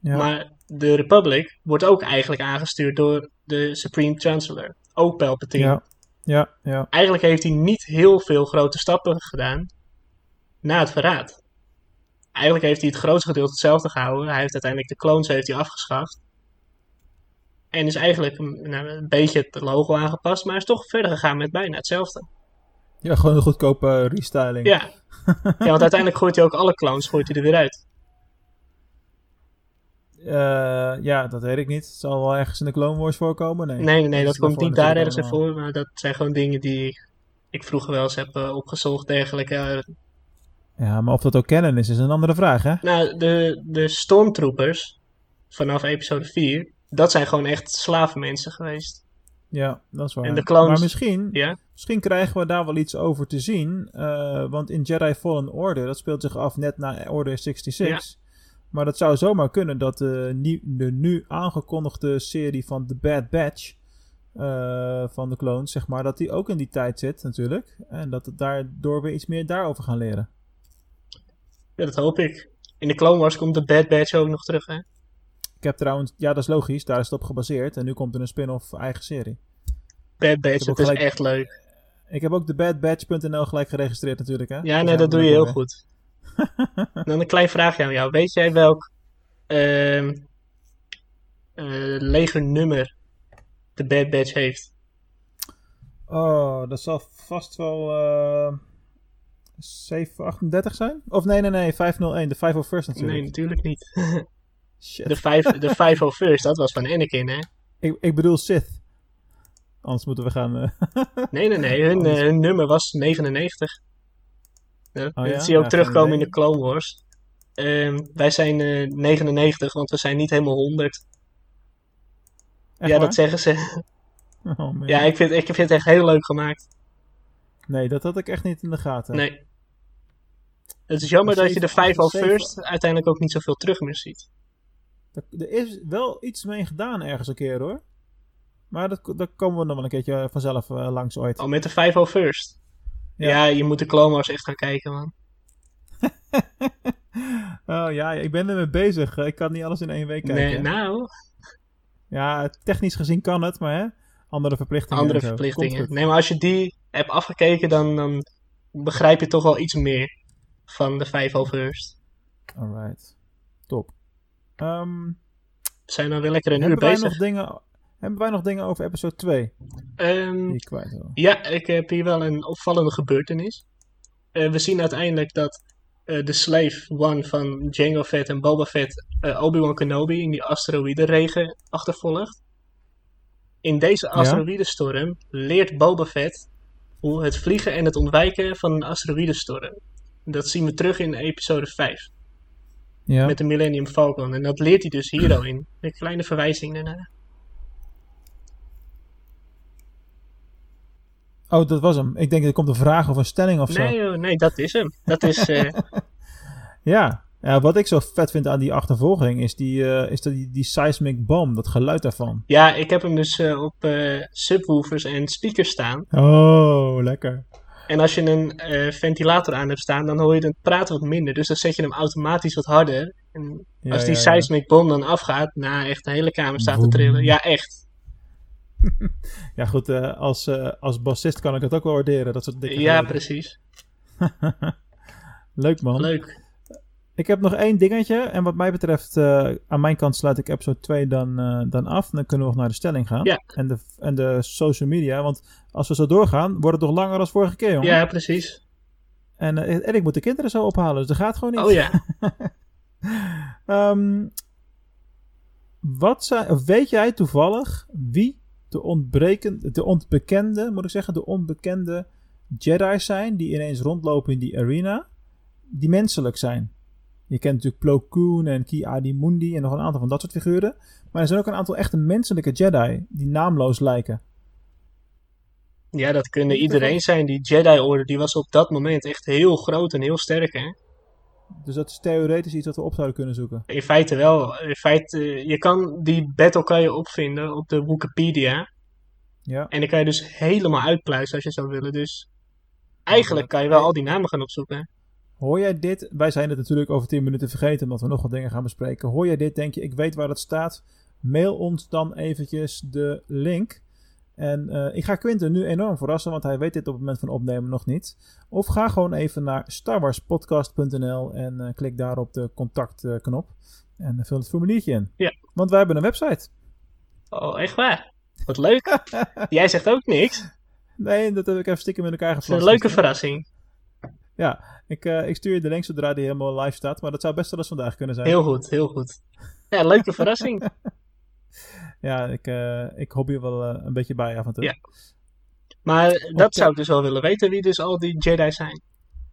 ja.
Maar de Republic wordt ook eigenlijk aangestuurd door de Supreme Chancellor. Ook Palpatine.
ja. Ja, ja,
Eigenlijk heeft hij niet heel veel grote stappen gedaan na het verraad. Eigenlijk heeft hij het grootste gedeelte hetzelfde gehouden. Hij heeft uiteindelijk de clones heeft hij afgeschaft. En is eigenlijk mm, nou, een beetje het logo aangepast, maar is toch verder gegaan met bijna hetzelfde.
ja, gewoon een goedkope eh, restyling.
Ja. ja, want uiteindelijk gooit hij ook alle clowns gooit hij er weer uit.
Eh, ja, dat weet ik niet. Het zal wel ergens in de Clone Wars voorkomen? Nee,
Nee, nee, nee, dat
is daarvoor
komt niet daar
natuurlijk
ergens in
allemaal-
voor, maar dat zijn gewoon dingen die ik vroeger wel eens heb eh, opgezocht, dergelijke. Eh,
Ja, maar of dat ook canon is, is een andere vraag, hè?
Nou, de, de stormtroopers vanaf episode 4, dat zijn gewoon echt slavenmensen geweest.
Ja, dat is waar.
En de clones-
Maar misschien,
Ja,
Misschien krijgen we daar wel iets over te zien. eh, want in Jedi Fallen Order, dat speelt zich af net na Order 66. Maar dat zou zomaar kunnen dat de, nie- de nu aangekondigde serie van The Bad Batch. eh, van de clones, zeg maar, dat die ook in die tijd zit natuurlijk. En dat het daardoor weer iets meer daarover gaan leren.
ja, dat hoop ik. In de Clone Wars komt de Bad Batch ook nog terug, hè?
Ik heb trouwens, ja, dat is logisch, daar is het op gebaseerd. En nu komt er een spin-off eigen serie.
Bad Batch,
heb ook
dat is
gelijk-
echt leuk.
Ik heb ook TheBadBatch.nl gelijk geregistreerd natuurlijk, hè?
Ja,
Dus
nee, dat doe je
dan-
heel goed. Dan een klein vraagje aan jou. Weet jij welk ehm eh legernummer de Bad Batch heeft?
Oh, dat zal vast wel eh 738 zijn? Of nee, nee, nee, 501, de 501st natuurlijk.
Nee, natuurlijk niet.
Shit.
De, vijf, de 501st, dat was van Anakin, hè?
Ik, ik bedoel Sith. Anders moeten we gaan... eh,
Nee, nee, nee.
Oh.
Hun, eh, hun nummer was 99. Ja, dat
Oh, ja?
zie je ook
Ja,
terugkomen
geen
in de Clone Wars. Ehm, wij zijn eh, 99, want we zijn niet helemaal 100.
echt
ja,
waar?
dat zeggen ze.
Oh, man.
Ja, ik vind, ik vind het echt heel leuk gemaakt.
Nee, dat had ik echt niet in de gaten.
Nee. Het is jammer
Maar
dat je de
zeven-
501st uiteindelijk ook niet zoveel terug meer ziet.
Dat- er is wel iets mee gedaan ergens een keer hoor. Maar dat, dat komen we nog wel een keertje vanzelf eh, langs ooit.
Al met de 501st.
Ja.
Ja. je moet de Clone Wars echt gaan kijken, man.
Oh ja, ik ben ermee bezig. Ik kan niet alles in één week kijken.
Nee, nou,
Ja, technisch gezien kan het, maar hè. Andere verplichtingen.
andere
en zo. Komt
verplichtingen.
goed.
Nee, maar als je die hebt afgekeken, dan, dan begrijp je toch wel iets meer van de 501st.
Alright. Top. Ehm,
We zijn dan weer lekker een uur
hebben, wij
bezig.
nog dingen, hebben wij nog dingen over episode 2
Ehm,
die ik kwijt wil?
ja, ik heb hier wel een opvallende gebeurtenis. Eh, we zien uiteindelijk dat eh, de slave one van Jango Fett en Boba Fett eh, Obi-Wan Kenobi in die asteroïdenregen achtervolgt. In deze asteroïdenstorm leert Boba Fett hoe het vliegen en het ontwijken van een asteroïdenstorm. Dat zien we terug in episode 5
Ja.
met de Millennium Falcon. En dat leert hij dus hier al in. Een kleine verwijzing daarna.
Oh, dat was hem. Ik denk er komt een vraag of een stelling of zo.
Nee, joh, nee, dat is hem. Dat is, eh,
Ja. Ja, wat ik zo vet vind aan die achtervolging is die, eh, is dat die, die seismic bomb, dat geluid daarvan.
Ja, ik heb hem dus eh, op eh, subwoofers en speakers staan.
Oh, lekker.
En als je een eh, ventilator aan hebt staan, dan hoor je het praten wat minder. Dus dan zet je hem automatisch wat harder. En
Ja,
als die
ja, ja.
seismic bom dan afgaat, nou echt de hele kamer staat
Boem.
te trillen. Ja, echt.
Ja, goed, eh, als, eh, als bassist kan ik dat ook wel waarderen. Dat soort dikke
Ja,
geluiden.
precies.
Leuk man.
Leuk.
Ik heb nog één dingetje. En wat mij betreft, eh, aan mijn kant sluit ik episode 2 dan, eh, dan af. Dan kunnen we nog naar de stelling gaan.
Ja.
En, de, en de social media. Want als we zo doorgaan, wordt het nog langer dan vorige keer, jongen.
Ja, precies.
En, eh, en ik moet de kinderen zo ophalen, dus dat gaat gewoon niet.
Oh ja.
Ehm, wat zijn, of weet jij toevallig wie de, ontbreken, de ontbekende, moet ik zeggen, de onbekende Jedi's zijn die ineens rondlopen in die arena, die menselijk zijn? Je kent natuurlijk Plo Koon en Ki Adi Mundi en nog een aantal van dat soort figuren. Maar er zijn ook een aantal echte menselijke Jedi die naamloos lijken.
Ja, dat kunnen iedereen zijn. Die Jedi Order die was op dat moment echt heel groot en heel sterk. Hè?
Dus dat is theoretisch iets wat we op zouden kunnen zoeken.
In feite wel. In feite, eh, je kan die battle kan je opvinden op de Wikipedia.
Ja.
En dan kan je dus helemaal uitpluizen als je zou willen. Dus
Oh,
eigenlijk kan je wel al die namen gaan opzoeken. hè?
Hoor jij dit? Wij zijn het natuurlijk over 10 minuten vergeten, omdat we nog wat dingen gaan bespreken. Hoor jij dit? Denk je, ik weet waar dat staat. Mail ons dan eventjes de link. En eh, ik ga Quinten nu enorm verrassen, want hij weet dit op het moment van opnemen nog niet. Of ga gewoon even naar starwarspodcast.nl en eh, klik daar op de contactknop. en eh, vul het formuliertje in.
Ja.
Want wij hebben een website.
Oh, echt waar? Wat leuk. Jij zegt ook niks. Het
Nee, dat heb ik even stiekem in elkaar
is een
geplaatst.
leuke verrassing.
Ja, ik, eh, ik stuur je de link zodra die helemaal live staat. Maar dat zou best wel eens vandaag kunnen zijn.
Heel goed, heel goed. Ja, leuke verrassing.
Ja, ik, eh ik hobby er wel eh, een beetje bij af en toe.
Ja. Maar dat
Oké.
zou ik dus wel willen weten, wie dus al die Jedi zijn.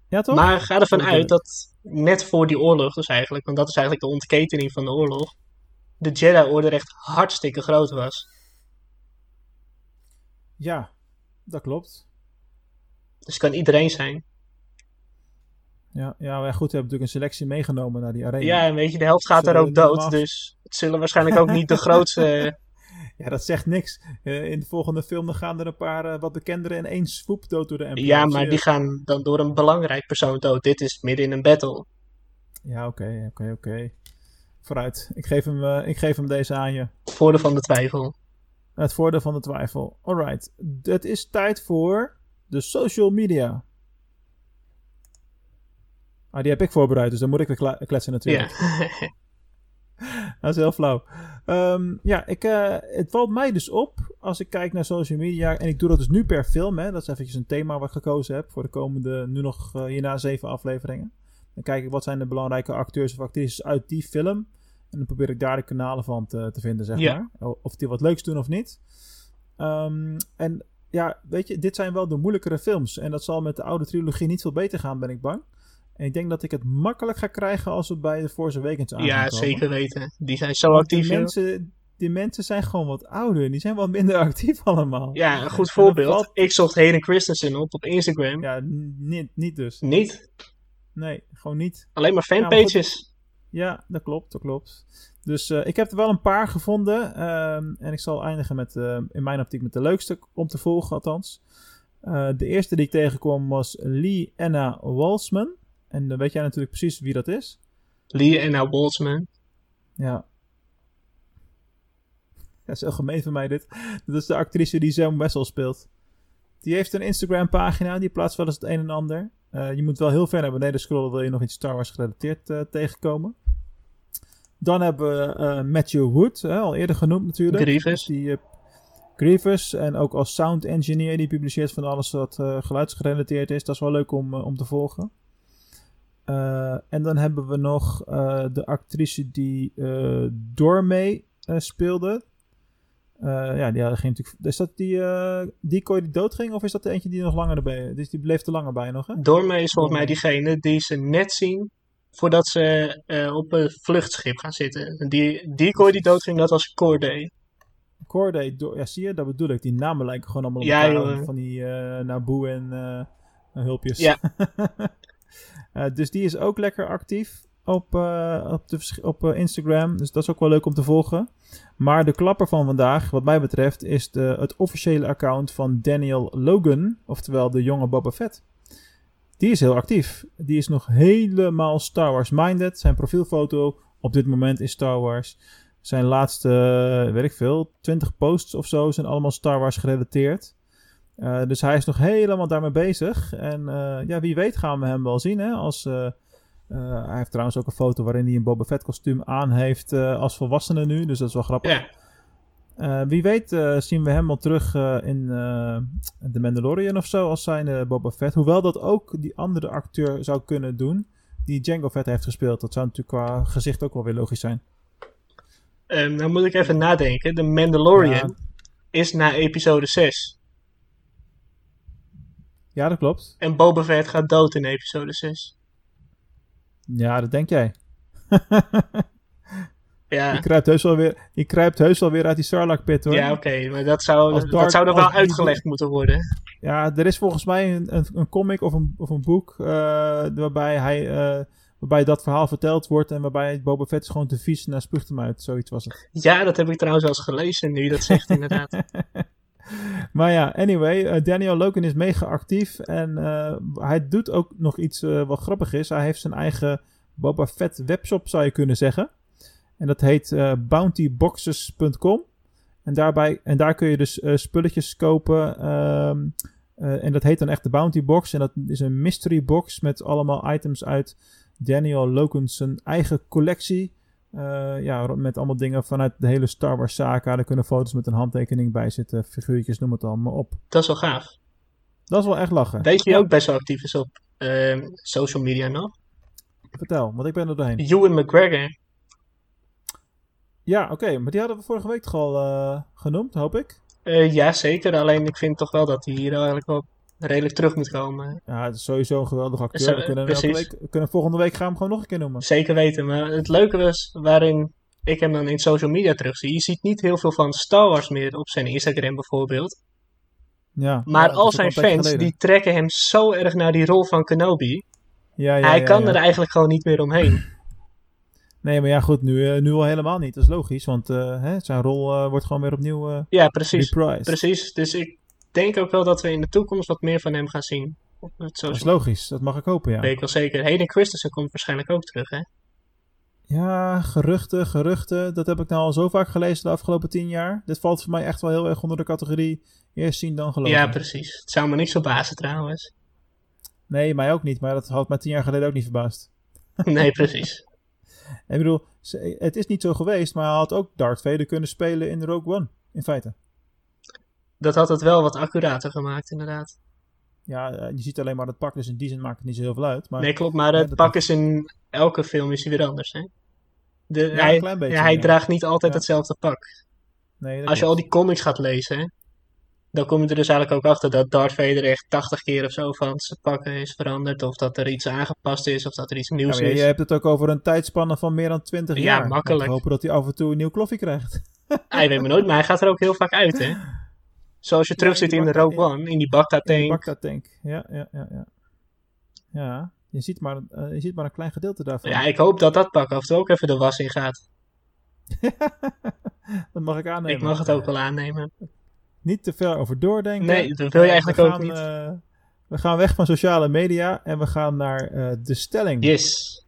Ja, toch?
Maar ga ervan
Oké.
uit dat net voor die oorlog dus eigenlijk, want dat is eigenlijk de ontketening van de oorlog, de Jedi-orde echt hartstikke groot was.
Ja, dat klopt.
Dus het kan iedereen zijn.
Ja, ja, maar goed, we hebben natuurlijk een selectie meegenomen naar die arena.
Ja, en weet je, de helft gaat
Zullen we
er ook
niet
dood,
maar-
dus het zullen waarschijnlijk ook niet de grootste... eh,
Ja, dat zegt niks. Eh, in de volgende film dan gaan er een paar eh, wat bekendere in één swoep dood door de Emperor.
Ja,
Dus,
maar
eh,
die gaan dan door een belangrijk persoon dood. Dit is midden in een battle.
Ja, oké, oké, oké. Vooruit. Ik geef, hem, eh, ik geef hem deze aan je.
Voordeel van de twijfel.
Het voordeel van de twijfel. Alright, het is tijd voor de social media. Ah, die heb ik voorbereid, dus dan moet ik weer kla- kletsen natuurlijk.
Ja.
Dat is heel flauw. Ehm, ja, ik, eh, het valt mij dus op als ik kijk naar social media. En ik doe dat dus nu per film. Hè. Dat is eventjes een thema wat ik gekozen heb voor de komende, nu nog eh, hierna zeven afleveringen. Dan kijk ik wat zijn de belangrijke acteurs of actrices uit die film. En dan probeer ik daar de kanalen van te, te vinden, zeg
Ja.
maar. O- Of die wat leuks doen of niet. Ehm, en ja, weet je, dit zijn wel de moeilijkere films. En dat zal met de oude trilogie niet veel beter gaan, ben ik bang. En ik denk dat ik het makkelijk ga krijgen als we bij de Force Awakens aan gaan
Ja,
komen.
zeker weten. Die zijn zo
Want
actief.
Die
joh.
mensen, die mensen zijn gewoon wat ouder. Die zijn wat minder actief allemaal.
Ja, een goed
valt-
voorbeeld. Ik zocht Hayden Christensen op op Instagram.
Ja, n- niet, niet dus.
Niet.
Nee, gewoon niet.
Alleen maar
Ja, maar goed.
fanpages.
Ja, dat klopt, dat klopt. Dus eh, ik heb er wel een paar gevonden. ehm, en ik zal eindigen met, eh, in mijn optiek, met de leukste om te volgen althans. Eh, de eerste die ik tegenkwam was Lee Anna Walsman. En dan weet jij natuurlijk precies wie dat is.
Lee en nou Boltzmann.
Ja. Dat is heel gemeen van mij dit. Dat is de actrice die Sam Wessel speelt. Die heeft een Instagram pagina. Die plaatst wel eens het een en ander. Eh, je moet wel heel ver naar beneden scrollen. Wil je nog iets Star Wars gerelateerd eh, tegenkomen. Dan hebben we eh, Matthew Wood. hè, al eerder genoemd natuurlijk.
Grievous.
Die eh, Grievous. En ook als sound engineer. Die publiceert van alles wat eh, geluidsgerelateerd is. Dat is wel leuk om, eh, om te volgen. Eh, en dan hebben we nog eh, de actrice die eh Dormee eh, speelde. Eh, ja, die had- ging natuurlijk. Is dat die eh decoy die doodging? Of is dat de eentje die nog langer erbij Dus die bleef er langer bij nog, hè?
Dorme is volgens mij
Dorme.
diegene die ze net zien voordat ze eh, op een vluchtschip gaan zitten. En Die decoy die doodging, dat was Corday.
Corday, Dor- ja, zie je, dat bedoel ik. Die namen lijken gewoon allemaal op
Ja,
elkaar.
joh.
van die eh Naboe en eh, hulpjes.
Ja.
Eh, dus die is ook lekker actief op, eh, op, de, versch- op eh, Instagram. Dus dat is ook wel leuk om te volgen. Maar de klapper van vandaag, wat mij betreft, is de, het officiële account van Daniel Logan. Oftewel de jonge Boba Fett. Die is heel actief. Die is nog helemaal Star Wars minded. Zijn profielfoto op dit moment is Star Wars. Zijn laatste, eh, weet ik veel, 20 posts of zo zijn allemaal Star Wars gerelateerd. Eh, dus hij is nog helemaal daarmee bezig. En eh, ja, wie weet gaan we hem wel zien hè, als eh, Eh, hij heeft trouwens ook een foto waarin hij een Boba Fett kostuum aan heeft eh, als volwassene nu. Dus dat is wel grappig.
Ja,
Eh, wie weet eh, zien we hem wel terug eh, in eh, The Mandalorian of zo als zijn eh, Boba Fett. Hoewel dat ook die andere acteur zou kunnen doen die Django Fett heeft gespeeld. Dat zou natuurlijk qua gezicht ook wel weer logisch zijn.
Ehm nou moet ik even nadenken. De Mandalorian
Ja.
is na episode 6.
Ja, dat klopt.
En Boba Fett gaat dood in episode 6.
Ja, dat denk jij. Je
Ja,
kruipt heus wel weer, je kruipt heus wel weer uit die Sarlacc pit hoor.
ja oké. Maar dat zou,
Als
dat,
Dark-
zou nog
als
wel
die-
uitgelegd moeten worden.
Ja, er is volgens mij een, een, een comic of een, of een boek eh, waarbij, hij, eh, waarbij dat verhaal verteld wordt en waarbij Boba Fett is gewoon te vies en hij spuugt hem uit. Zoiets was het.
Ja, dat heb ik trouwens wel eens gelezen nu je dat zegt inderdaad.
Maar ja, anyway, eh, Daniel Logan is mega actief en eh, hij doet ook nog iets eh, wat grappig is. Hij heeft zijn eigen Boba Fett webshop, zou je kunnen zeggen. En dat heet eh, bountyboxes.com. En, daarbij, en daar kun je dus eh, spulletjes kopen. ehm, eh, en dat heet dan echt de Bounty Box. En dat is een mystery box met allemaal items uit Daniel Logan's eigen collectie. Eh, ja, ro- met allemaal dingen vanuit de hele Star Wars saga. Daar kunnen foto's met een handtekening bij zitten, figuurtjes, noem het allemaal op.
dat is wel gaaf.
Dat is wel echt lachen.
Weet je wie ook best wel actief is op ehm, social media nog?
Vertel, want ik ben er doorheen.
Ewan McGregor.
Ja, oké, maar die hadden we vorige week toch al eh, genoemd, hoop ik.
Eh ja, zeker. Alleen ik vind toch wel dat hij hier eigenlijk wel redelijk terug moet komen.
Ja, het is sowieso een geweldige
Is dat-
acteur. We kunnen, hem elke
precies.
week, we kunnen volgende week gaan we hem gewoon nog een keer noemen.
Zeker weten. Maar het leuke was waarin ik hem dan in social media terugzie. Je ziet niet heel veel van Star Wars meer op zijn Instagram bijvoorbeeld.
Ja,
Maar
ja, dat
al
is ook
zijn
een tijdje
fans
geleden.
die trekken hem zo erg naar die rol van Kenobi.
Ja, ja,
hij
ja,
kan
ja.
er eigenlijk gewoon niet meer omheen.
Nee, maar ja, goed, nu, eh, nu al helemaal niet. Dat is logisch, want eh, hè, zijn rol eh, wordt gewoon weer opnieuw eh
Ja, precies.
reprised.
Precies, dus ik denk ook wel dat we in de toekomst wat meer van hem gaan zien. Op het
Dat is
social
logisch, dat mag ik hopen, ja.
weet ik wel zeker. Hayden Christensen komt waarschijnlijk ook terug, hè?
Ja, geruchten, geruchten. Dat heb ik nou al zo vaak gelezen de afgelopen tien jaar. Dit valt voor mij echt wel heel erg onder de categorie eerst zien dan geloven.
Ja, precies. Het zou me niks verbazen trouwens.
nee, mij ook niet. Maar dat had mij tien jaar geleden ook niet verbaasd.
Nee, precies.
Ik bedoel, ze- het is niet zo geweest, maar hij had ook Darth Vader kunnen spelen in Rogue One, in feite.
Dat had het wel wat accurater gemaakt, inderdaad.
Ja, eh, je ziet alleen maar dat pak, dus in die zin maakt het niet zo heel veel uit. Maar
Nee, klopt, maar
Ja,
het
dat
pak is in elke film is hij weer anders, hè? De,
Ja,
hij,
een klein beetje,
ja, hij
ja.
draagt niet altijd
Ja.
hetzelfde pak.
nee, dat
Als je al
klopt.
die comics gaat lezen, hè, dan kom je er dus eigenlijk ook achter dat Darth Vader echt 80 keer of zo van zijn pak is veranderd. Of dat er iets aangepast is, of dat er iets
Ja,
nieuws
maar je,
is.
je hebt het ook over een tijdspanne van meer dan twintig
Ja,
jaar. Laten we
makkelijk.
hopen dat hij af en toe een nieuw kloffie krijgt.
Hij weet me nooit, maar hij gaat er ook heel vaak uit, hè? Zoals je terug
in
zit
die
in de
Baghdad-
Rogue One, in die Baghdad
In de
tank.
Baghdad tank. Ja, ja, ja, ja. Ja, je ziet maar, eh, je ziet maar een klein gedeelte daarvan.
Ja, ik hoop dat dat pak af en toe ook even de was in gaat.
Dat mag ik aannemen.
Ik mag het ook wel aannemen.
Niet te ver over doordenken.
Nee, dat wil je
Eh,
eigenlijk
we
ook
gaan,
niet.
eh, we gaan weg van sociale media en we gaan naar eh, de stelling.
Yes.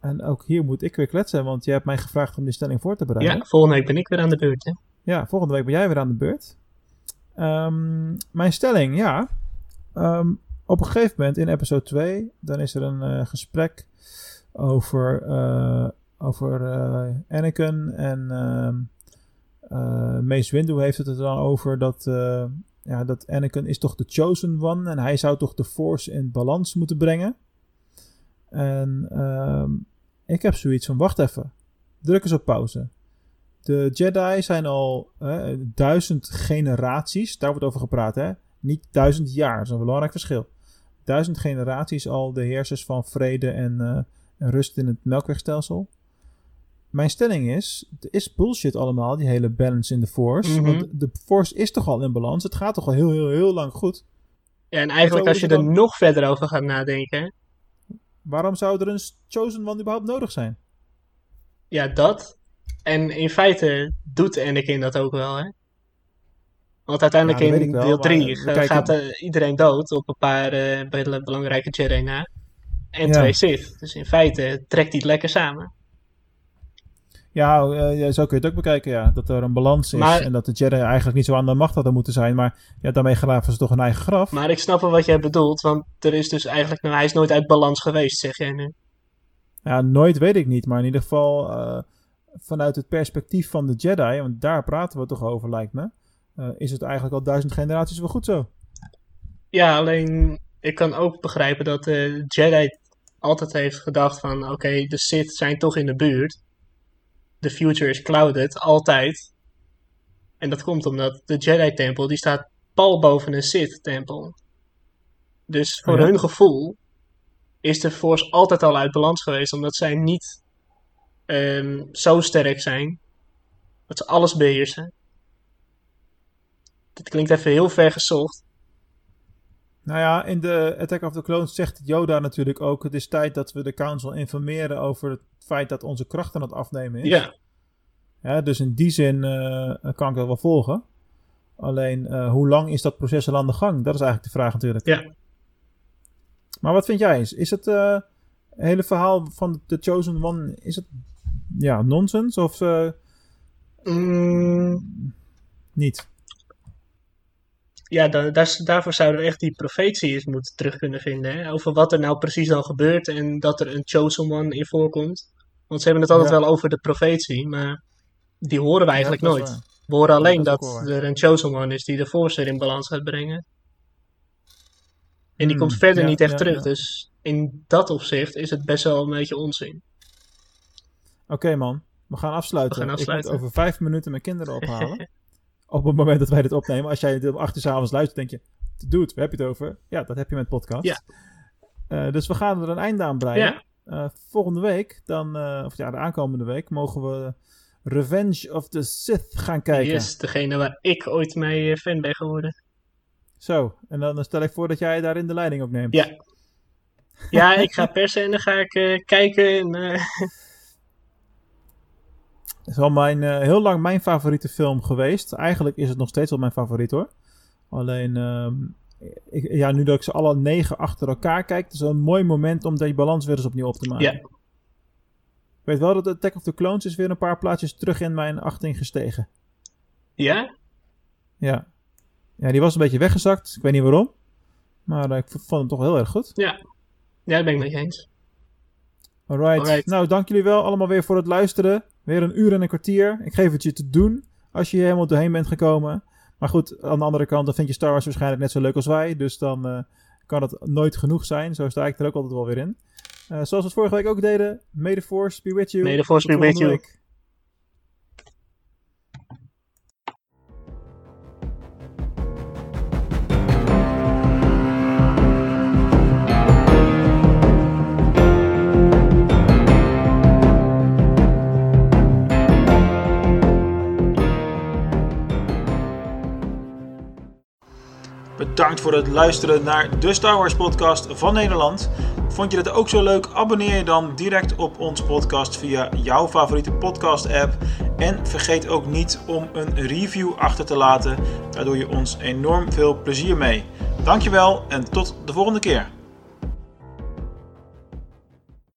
En ook hier moet ik weer kletsen, want je hebt mij gevraagd om die stelling voor te bereiden.
Ja, volgende week ben ik weer aan de beurt, hè?
Ja, volgende week ben jij weer aan de beurt. Ehm, mijn stelling, ja. Ehm, op een gegeven moment in episode 2, dan is er een eh, gesprek over, eh, over eh, Anakin en ehm eh, Mace Windu heeft het er dan over dat, eh, ja, dat Anakin is toch de chosen one en hij zou toch de force in balans moeten brengen. En ehm, ik heb zoiets van, wacht even, druk eens op pauze. De Jedi zijn al eh, duizend generaties, daar wordt over gepraat, hè? Niet duizend jaar, dat is een belangrijk verschil. Duizend generaties al de heersers van vrede en, eh, en rust in het melkwegstelsel. Mijn stelling is, het is bullshit allemaal, die hele balance in de Force.
Mhm.
Want de Force is toch al in balans, het gaat toch al heel, heel, heel lang goed.
Ja, en eigenlijk
Zo is
als je
het
er
dan.
nog verder over gaat nadenken...
Waarom zou er een Chosen One überhaupt nodig zijn?
Ja, dat. En in feite doet Anakin dat ook wel, hè? Want uiteindelijk
Ja, dat weet
in
ik wel,
deel
maar,
3
eh, we kijken-
gaat eh, iedereen dood op een paar eh, bele- belangrijke Jedi na. En
Ja.
twee Sith. Dus in feite trekt hij het lekker samen.
Ja, eh, ja, zo kun je het ook bekijken, ja. Dat er een balans is
Maar-
en dat de Jedi eigenlijk niet zo aan de macht hadden moeten zijn. Maar ja, daarmee graven ze toch hun eigen graf.
Maar ik snap wel wat jij bedoelt, want er is dus eigenlijk, nou, hij is nooit uit balans geweest, zeg jij nu.
Ja, nooit weet ik niet, maar in ieder geval eh, vanuit het perspectief van de Jedi, want daar praten we toch over, lijkt me. eh, is het eigenlijk al duizend generaties wel goed zo?
Ja, alleen ik kan ook begrijpen dat de Jedi altijd heeft gedacht van oké, de Sith zijn toch in de buurt. The future is clouded, altijd. En dat komt omdat de Jedi-tempel die staat pal boven een Sith-tempel. Dus voor
Ja.
hun gevoel is de Force altijd al uit balans geweest, omdat zij niet ehm, zo sterk zijn dat ze alles beheersen. Dit klinkt even heel ver gezocht.
Nou ja, in de Attack of the Clones zegt Yoda natuurlijk ook: het is tijd dat we de Council informeren over het feit dat onze kracht aan het afnemen is.
Ja,
Ja, dus in die zin eh, kan ik dat wel volgen. Alleen, eh, hoe lang is dat proces al aan de gang? Dat is eigenlijk de vraag natuurlijk.
Ja.
Maar wat vind jij eens? Is het eh, hele verhaal van The Chosen One, is het ja, nonsens of eh,
Mm,
niet?
ja da- daar, daarvoor zouden we echt die profetie eens moeten terug kunnen vinden. Hè? Over wat er nou precies dan gebeurt en dat er een chosen one in voorkomt. Want ze hebben het altijd
Ja.
wel over de profetie, maar die horen we eigenlijk
Ja, dat is
nooit.
waar.
We horen alleen
dat
dat,
is ook wel waar.
er een chosen one is die de force weer in balans gaat brengen. En die
Hmm,
komt verder
ja,
niet echt
ja,
terug,
ja.
dus in dat opzicht is het best wel een beetje onzin.
Oké man, we gaan afsluiten.
We gaan afsluiten.
Ik moet over vijf minuten mijn kinderen ophalen. op het moment dat wij dit opnemen. Als jij dit om acht uur 's avonds luistert, denk je... Dude, waar heb je het over? Ja, dat heb je met podcast.
Ja.
Eh, dus we gaan er een einde aan breien.
Ja.
Eh, volgende week, dan, eh, of ja, de aankomende week, mogen we Revenge of the Sith gaan kijken.
Yes, degene waar ik ooit mee eh, fan ben geworden.
Zo, en dan stel ik voor dat jij daarin de leiding ook neemt.
Ja. Ja, ik ga persen en dan ga ik eh, kijken en... eh,
Het is al mijn, eh, heel lang mijn favoriete film geweest. Eigenlijk is het nog steeds wel mijn favoriet hoor. Alleen, ehm, ik, ja, nu dat ik ze alle negen achter elkaar kijk, het is wel een mooi moment om die balans weer eens opnieuw op te maken.
Ja.
Ik weet wel dat Attack of the Clones is weer een paar plaatsjes terug in mijn achting gestegen.
ja?
Ja. Ja, die was een beetje weggezakt. Ik weet niet waarom. Maar eh, ik v- vond hem toch wel heel erg goed.
Ja, dat ben ik met je eens.
Alright.
Alright.
Nou, dank jullie wel allemaal weer voor het luisteren. Weer een uur en een kwartier. Ik geef het je te doen als je hier helemaal doorheen bent gekomen. Maar goed, aan de andere kant, dan vind je Star Wars waarschijnlijk net zo leuk als wij. Dus dan eh, kan het nooit genoeg zijn. Zo sta ik er ook altijd wel weer in. Eh, zoals we het vorige week ook deden. May the Force be with you.
May the Force
Tot
be with
volgende
you.
week. Bedankt voor het luisteren naar de Star Wars podcast van Nederland. Vond je dit ook zo leuk? Abonneer je dan direct op onze podcast via jouw favoriete podcast app. En vergeet ook niet om een review achter te laten. Daar doe je ons enorm veel plezier mee. Dankjewel en tot de volgende keer.